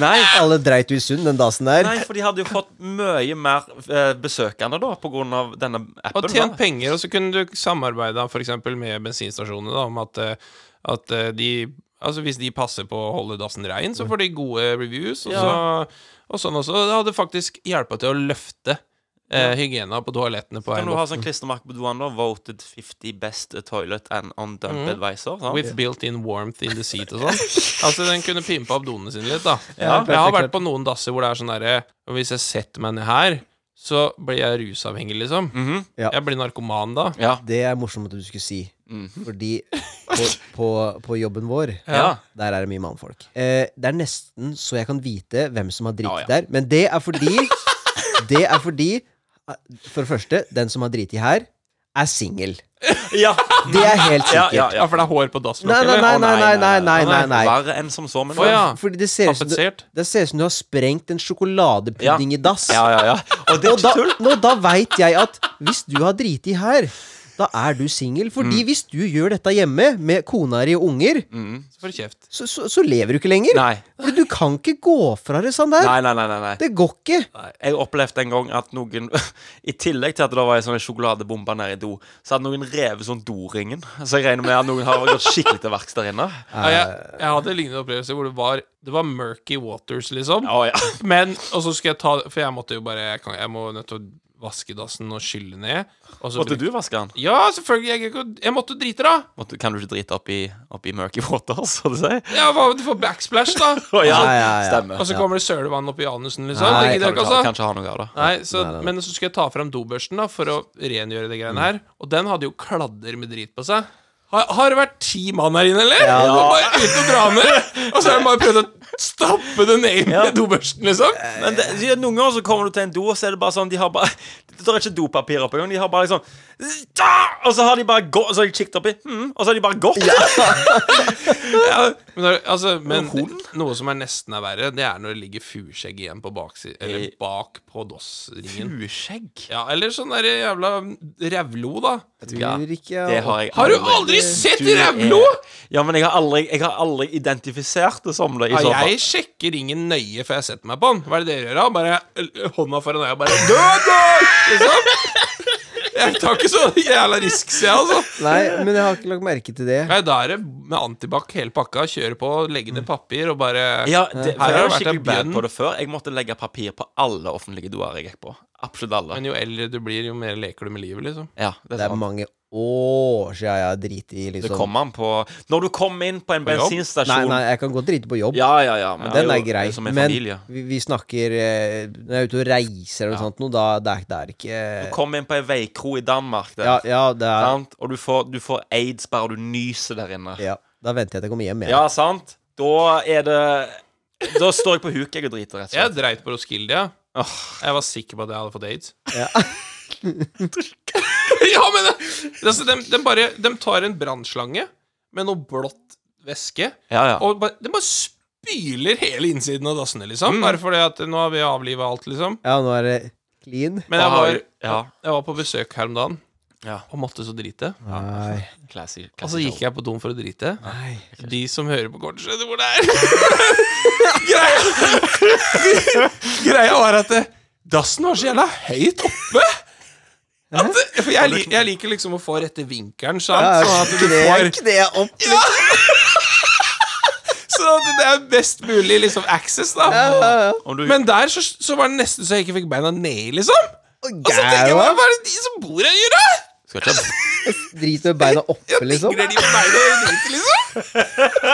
Nei,
Alle dreit jo i sund den dasen der.
nei, for de hadde jo fått mye mer eh, besøkende da på grunn av denne appen.
Og tjent
da.
penger, og så kunne du samarbeida f.eks. med bensinstasjonene da, om at, eh, at eh, de Altså Hvis de passer på å holde dassen rein,
Mm.
så får de gode reviews. Og, så, og sånn også. Det hadde faktisk hjelpa til å løfte eh, hygiena på toalettene på
Kan
veien
du ha
opp.
sånn klistremerke på doen, da? Voted 50 best toilet and on
Mhm.
dump advisor. sant?
With built-in warmth in the seat og sånn. Altså Den kunne pimpa opp donene sine litt, da.
Ja,
jeg har vært
perfekt.
på noen dasser hvor det er sånn derre og Hvis jeg setter meg ned her, så blir jeg rusavhengig, liksom.
Mhm.
Ja.
Jeg blir narkoman da.
Ja.
Det er morsomt at du skulle si. Fordi på, på, på jobben vår,
Ja.
der er det mye mannfolk. Eh, det er nesten så jeg kan vite hvem som har
Ja, ja.
driti der. Men det er fordi Det er fordi eh, For det første, den som har driti her, er singel.
Ja.
Det er helt
Ja,
sikkert.
ja,
Ja, for det er hår på dasslokket.
Nei, nei,
eller?
nei,
Å,
nei, nei, nei, nei, nei, nei.
Verre enn som så, men
Å, ja.
Fordi det ser ut som du,
Tapetsert.
det ser ut som du har sprengt en sjokoladepudding i dass.
Ja, ja, ja. Og det er
Og da,
ikke tull.
nå, da veit jeg at hvis du har driti her, da er du singel.
Mm.
Fordi hvis du gjør dette hjemme med kona di og unger,
Så får du kjeft.
så, så, så lever du ikke lenger.
Nei.
Fordi du kan ikke gå fra det sånn der.
Nei, nei, nei, nei, nei.
Det går ikke.
Nei, Jeg opplevde en gang at noen I tillegg til at det var en sånn sjokoladebombe nede i do, så hadde noen revet sånn doringen. Så jeg regner med at noen har gått skikkelig til verks der inne.
Ja, jeg, jeg hadde en lignende opplevelse hvor det var, det var murky waters, liksom.
Å ja.
Men, og så skulle jeg ta For jeg måtte jo bare Jeg, kan, jeg må nødt til å vaske dassen og skylle ned. Og så
Måtte du vaske den?
Ja, selvfølgelig. Jeg, kan ikke- jeg måtte drite, da.
Måtte, kan du ikke drite opp i, opp i murky water, så du sier?
Jeg var for backsplash, da.
Å ja,
Ja, ja, ja.
stemmer.
Og så kommer det sølevann opp i anusen, liksom.
Nei,
det gidder
Kan du ikke
jeg ikke,
ha-
altså.
Kanskje ha noe av det.
Nei, så, Men så skulle jeg ta fram dobørsten da for å rengjøre det greiene her. Og den hadde jo kladder med drit på seg. Har, har det vært ti mann her inne, eller?
Ja.
Og bare uten å dra ned. Og så har de bare prøvd å stappe det ned med dobørsten, liksom.
Men det, ja, noen ganger så kommer du til en do, og så er det bare sånn De har bare Det er ikke dopapir opp engang. De har bare liksom «Ah!» Og så har de bare gå, og så har de kikket oppi, «Hm», og så har de bare gått.
Ja, men, det- altså, men noe som er nesten er verre, det er når det ligger fuskjegg igjen på baksi, eller
I-
bak på dossringen.
Bueskjegg.
Ja, eller sånn der jævla revlo, da.
Ja,
Tror ikke jeg-
Det har jeg
Har du aldri sett revlo?
Ja, men jeg har aldri, jeg har aldri identifisert det som det. I så
Ja,
fall.
jeg sjekker ringen nøye før jeg setter meg på den. Hva er det dere gjør, da? Bare ø, hånda foran øya, bare Død, da! Liksom. Jeg tar ikke så jævla risk, sier jeg, altså.
Nei, men jeg har ikke lagt merke til det.
Nei, da er det med antibac hele pakka, kjøre på, legge ned papir og bare
Mm. Ja, det, for
Her
jeg
har
var
det vært
skikkelig
en
bad
bjørn.
på det før. Jeg måtte legge papir på alle offentlige doer jeg gikk på. Absolutt alle.
Men jo eldre du blir, jo mer leker du med livet, liksom.
Ja, det,
Det
er
er
sant.
mange år siden jeg har driti,
det
liksom.
kommer an på Når du kommer inn på en
jobb?
Nei,
bensinstasjon
nei, jeg kan godt drite på jobb.
Ja, ja, ja. Men det
Den
jo-
er grei.
det som en
Men
familie.
vi, vi snakker eh, Når jeg er ute og reiser eller noe sånt, noe, da det er, det er ikke
Kom inn på ei veikro i Danmark, det,
ja, ja, det er
sant? og du får, du får aids bare du nyser der inne. Ja,
ja, Da venter jeg til jeg kommer hjem. jeg.
sant? Da er det Da står jeg på huk jeg og driter, rett og
Jeg
slett.
dreit på Roskilde, ja. Jeg var sikker på at jeg hadde fått aids.
Ja.
ja, men det, altså, de, de bare De tar en brannslange med noe blått væske,
Ja, ja.
og bare, de bare spyler hele innsiden av dassene, liksom.
Mm.
Bare fordi at nå har vi avliva alt, liksom.
Ja, nå er det clean.
Men jeg
Da har
var,
vi- ja.
jeg var på besøk her om dagen
Ja.
og måtte så drite.
Nei.
Classy,
Og så gikk jeg på do for å drite.
Nei.
De som hører på kort, skjønner hvor det er. Greia Greia var at eh, dassen var så jævla høyt oppe. At, eh, for jeg, lik- jeg liker liksom å få rette vinkelen, sant? Sånn at, du
Kne,
får,
kne opp.
sånn at det er best mulig liksom access, da.
Om du,
Men der så, så var det nesten så jeg ikke fikk beina ned, liksom.
Å,
Og så tenker jeg
gæva.
bare, hva er det de som bor her, gjør? da?
skal ikke ha
Drit med beina oppe, liksom.
Dingler de med beina og driter, liksom?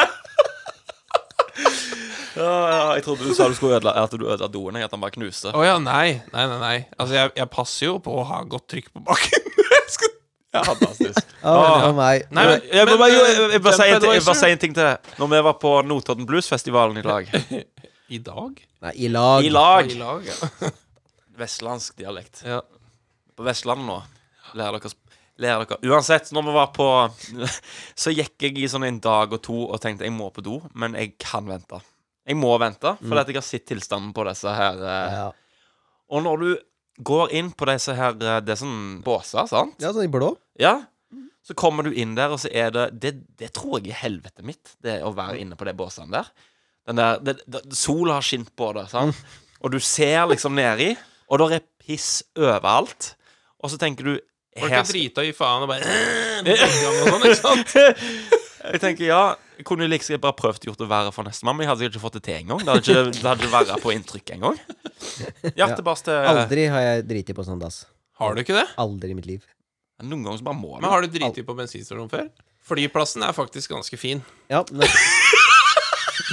Ja, Jeg trodde du sa du skulle ødela At du ødela doen, jeg, at han bare knuste.
Å ja, nei. Nei, nei, nei. Altså, jeg, jeg passer jo på å ha godt trykk på bakken. Jeg skal
Ja, fantastisk
Å, for meg.
Nei, men,
Jeg vil
men,
bare, jo,
eh,
jeg, jeg bare si en ting- jeg bare
TripAdvisor
si en ting til deg. Når vi var på Notodden Bluesfestivalen i lag
I dag?
Nei, i lag.
I lag!
I lag, ja.
Vestlandsk dialekt.
ja.
på Vestlandet nå. Lærer dere, lærer dere. Uansett, når vi var på Så gikk jeg i sånn en dag og to og tenkte jeg må på do, men jeg kan vente. Jeg må vente, fordi at jeg har sett tilstanden på disse her eh.
Ja.
Og når du går inn på disse her eh, Det er sånn båser, sant?
ja, sånn i blå.
Ja.
Mhm.
Så kommer du inn der, og så er det Det, det tror jeg er helvete mitt, det å være inne på de båsene der. Den der, det, det, sol har skint på det, sant?
Mm.
og du ser liksom nedi, og der er piss overalt. Og så tenker du
Folk
her
er
skal-
drita og gir faen og bare på inngang og sånn, ikke sant?
Jeg tenker, ja, jeg kunne like liksom bare prøvd å gjort det verre for nestemann, men jeg hadde sikkert ikke fått det til engang. Det hadde ikke, det hadde ikke verre på inntrykk engang. Ja, tilbake til
Aldri har jeg driti på sånn dass.
Har du ikke det?
Aldri i mitt liv.
Noen ganger så bare må
Men
man.
har du driti på bensinstasjonen før? Flyplassen er faktisk ganske fin.
Ja, men,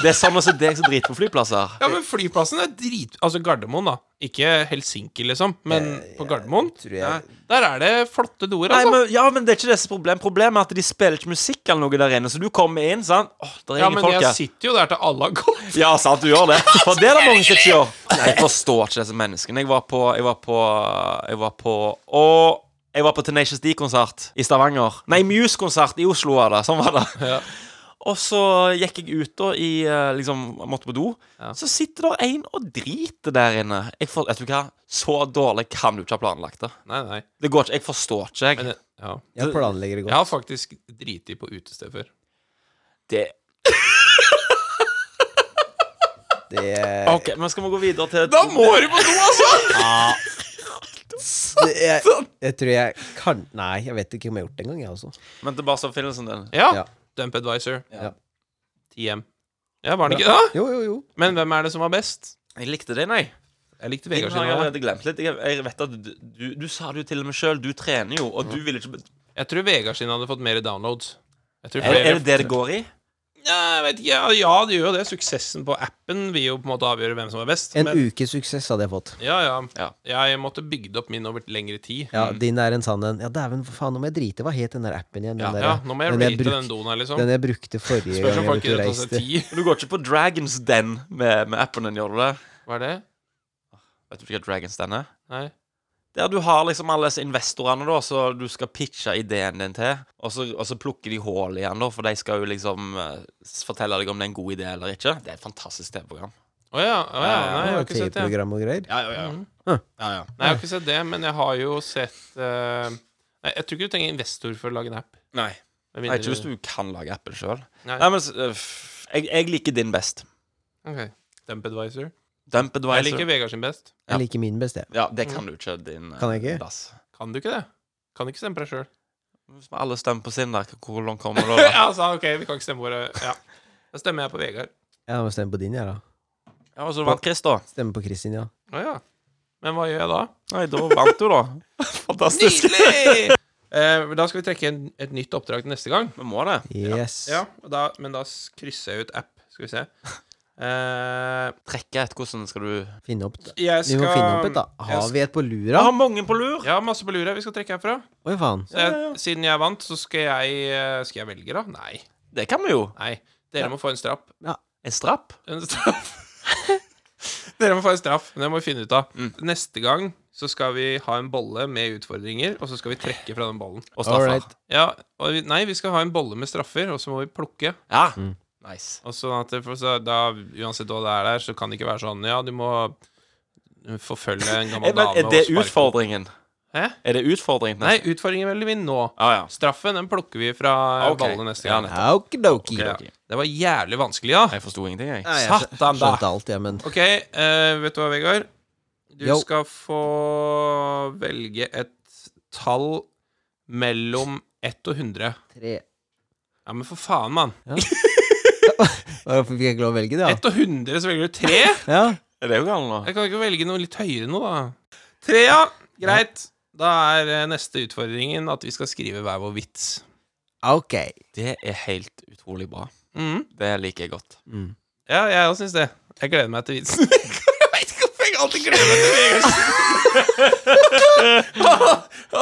Det er sånn også deg som driter på flyplasser.
Ja, men flyplassen er drit... Altså Gardermoen, da. Ikke Helsinki, liksom, men på Gardermoen.
tror jeg-
Nei, der er det flotte doer,
Nei,
altså.
men, ja, men det er ikke dets problem. Problemet er at de spiller ikke musikk eller noe der inne, så du kommer inn, sant. Åh, der er
Ja,
ingen
men
folk
jeg
her.
sitter jo der til alle har gått.
Ja, sant, du gjør det. For det er det mange som ikke gjør. Jeg forstår ikke disse menneskene. Jeg var på Jeg var på Jeg var på Å, jeg var på Tenacious D-konsert i Stavanger. Nei, Muse-konsert i Oslo var det. Sånn var det. Og så gikk jeg ut da i eh, Liksom, jeg måtte på do. Så sitter der en og driter der inne. Jeg får, vet du hva? Så dårlig kan du ikke ha planlagt det.
Nei, nei.
Det går ikke. Jeg forstår ikke, jeg.
Men, ja.
jeg planlegger
Jeg
det godt.
har faktisk driti på utested før.
Det
Det,
OK, men skal vi gå videre til
Da må du på do, altså!
det, jeg, jeg tror jeg kan Nei, jeg vet ikke om jeg har gjort det engang, jeg altså. også.
Men tilbake til oppfinnelsen din.
Ja.
Ja.
Dump Advisor.
Ja.
TM. Ja, var det ikke det?
Jo, jo, jo.
Men hvem er det som var best?
Jeg likte den, jeg.
Jeg likte
Din
Vegard
har jeg
sin.
allerede glemt litt. Jeg, jeg vet at du, du, du sa det jo til og med sjøl. Du trener jo, og du vil ikke be-
Jeg tror Vegard sin hadde fått mer downloads. Jeg tror
er,
flere
er det det det går i?
Ja, jeg vet ikke. Ja, ja, det gjør jo det. Suksessen på appen vil jo på en måte avgjøre hvem som var best.
En ukes suksess hadde jeg fått.
ja, ja,
Ja.
Jeg måtte bygd opp min over lengre tid.
Ja, din er en sann en. Ja, dæven, for faen, nå må jeg drite. Hva het den der appen igjen? Den
Ja,
der-
ja, nå må jeg
den
rate
bruk-
den doen her, liksom.
Den jeg brukte forrige
Spørs
gang
om
jeg var
folk
ute og
gidder å ta seg
reiste.
tid.
Du går ikke på Dragons Den med, med appen din, gjør du det?
Hva er det?
Vet du ikke hva Dragons Den er?
Nei.
Der du har liksom alle disse investorene da, så du skal pitche ideen din til, og så, og så plukker de hull igjen, da, for de skal jo liksom eh, s- fortelle deg om det er en god idé eller ikke. Det er et fantastisk TV-program.
Å ja. Å ja. Nei, jeg har ikke sett det.
TV-program og greier.
Ja, ja, ja.
Nei, jeg har ikke sett det, men jeg har jo sett eh, Nei, jeg tror ikke du trenger investor for å lage en app.
Nei.
Med
Nei,
mindre
ikke hvis du kan lage appen sjøl.
Nei.
Nei, men s- eh, f- jeg, jeg liker din best.
Ok. Dump Advisor.
Dump
Jeg
Advisor.
liker Vegard sin best.
Ja.
Jeg liker min best, jeg.
Ja, det kan du ikke, din eh,
Kan jeg ikke?
dass.
Kan du ikke det? Kan du ikke stemme på deg sjøl?
Hvis vi alle stemmer på sin der, hvor langt kommer du da? da?
ja, altså, ok, vi kan ikke stemme våre Ja. Da stemmer jeg på Vegard.
Jeg må stemme på din, jeg, da.
Ja, og så vant Chris, da.
Stemme på Kristin, ja.
Å ja. Men hva gjør jeg da?
Nei, da vant du, da. Fantastisk.
Nydelig! Eh, da skal vi trekke en, et nytt oppdrag til neste gang.
Vi må det.
Yes.
Ja, og da, Men da s- krysser jeg ut app. Skal vi se. Eh,
Trekke et hvordan skal du
Finne opp da.
jeg
Vi
skal
må finne opp et, da.
jeg
Har
skal-
vi et på
Jeg
lura?
har mange på lur.
Ja, masse på lura. Vi skal trekke herfra.
Oi, faen.
Så jeg, Siden jeg vant, så skal jeg eh, Skal jeg velge, da? Nei.
Det kan vi jo.
Nei. Dere må få en straff.
En strapp.
En straff. Dere må få en straff. men Det må vi finne ut av. Neste gang så skal vi ha en bolle med utfordringer, og så skal vi trekke fra den bollen.
Og straffer.
Alright.
Ja, og vi, Nei, vi skal ha en bolle med straffer, og så må vi plukke.
Ja.
Mm.
Nice.
Og sånn at det- for så da, Uansett hva det er der, så kan det ikke være sånn Ja, du må forfølge
Eh,
en gammel
Men
dame
er det
og sparke-
utfordringen?
Hæ?
Er det utfordringen? til
Nei,
neste-
utfordringen velger vi nå.
Ja, ja. Ah,
Straffen den plukker vi fra
Ok.
ballene neste
Ja,
gang.
nettopp.
Okidoki.
Ja. Det var jævlig vanskelig, da.
Jeg forsto ingenting, jeg.
Nei, jeg skjø-
Satan, da.
Skjønte alt, jeg, men
Ok, eh, vet du hva, Vegard? Du
Jo.
skal få velge et tall mellom 1 og 100.
tre
Ja, men for faen, mann.
Hvorfor fikk jeg ikke lov å velge det,
1 og 100, så velger du 3?
da? Ja.
Er det jo galt nå?
Jeg kan ikke velge noe litt høyere nå, da. 3, ja. Greit. Da er eh, neste utfordringen at vi skal skrive hver vår vits.
Ok.
Det er helt utrolig bra.
Mhm.
Det liker jeg godt.
Ja, jeg òg syns det. Jeg gleder meg til vitsen. jeg vet ikke hvorfor jeg alltid gleder meg til Vegard.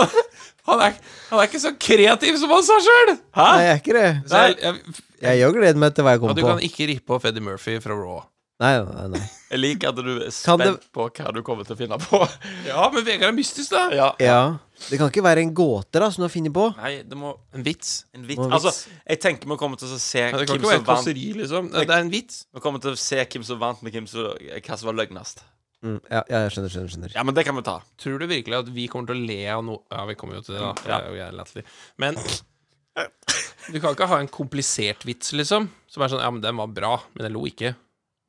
han, er, han er ikke så kreativ som han sa sjøl!
Nei, jeg er ikke det.
Så jeg, jeg,
Jeg òg gleder meg til hva
og
jeg kommer
du
på.
kan ikke rippe på Freddy Murphy fra Raw.
Nei, nei, nei.
Jeg liker at du er
Kan
spent
det-
på hva du kommer til å finne på.
Ja, men Vegard er mystisk, da.
Ja.
Ja. Det kan ikke være en gåte, da, som du har funnet på.
Nei, det må
En vits.
En vits.
Må en
Altså,
vits.
jeg tenker vi kommer til å se
Ja, det kan
hvem
ikke være
som
et
vant
kåseri, liksom. Det det er en vits.
Vi kommer til å se hvem som vant med hvem som, hva som var løgnest.
Mm, ja, ja, jeg skjønner, skjønner, skjønner.
Ja, men det kan vi ta.
Tror du virkelig at vi kommer til å le av noe Ja, vi kommer jo til det, da. for Det er jo jævlig latterlig. Men du kan ikke ha en komplisert vits, liksom. Som er sånn Ja, men den var bra, men jeg lo ikke.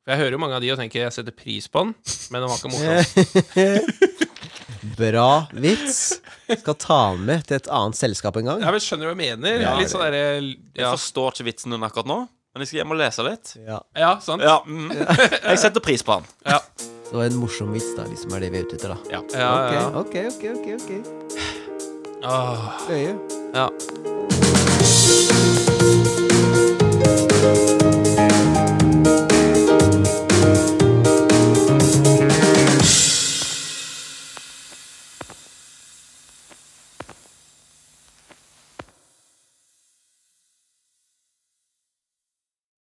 For jeg hører jo mange av de og tenker jeg setter pris på den, men den var ikke morsom.
Bra vits. Skal ta den med til et annet selskap en gang.
Jeg vel skjønner hva du mener.
Ja,
litt sånn derre
Jeg
ja,
forstår ikke vitsen din akkurat nå, men jeg skal hjem og lese litt.
Ja.
ja, sant?
Ja, mm. Jeg setter pris på den.
Det var en morsom vits, da, liksom er det vi er ute etter, da.
Ja, ja. Ah.
Ok, ok, ok. ok, ok
Åh,
Løye.
ja.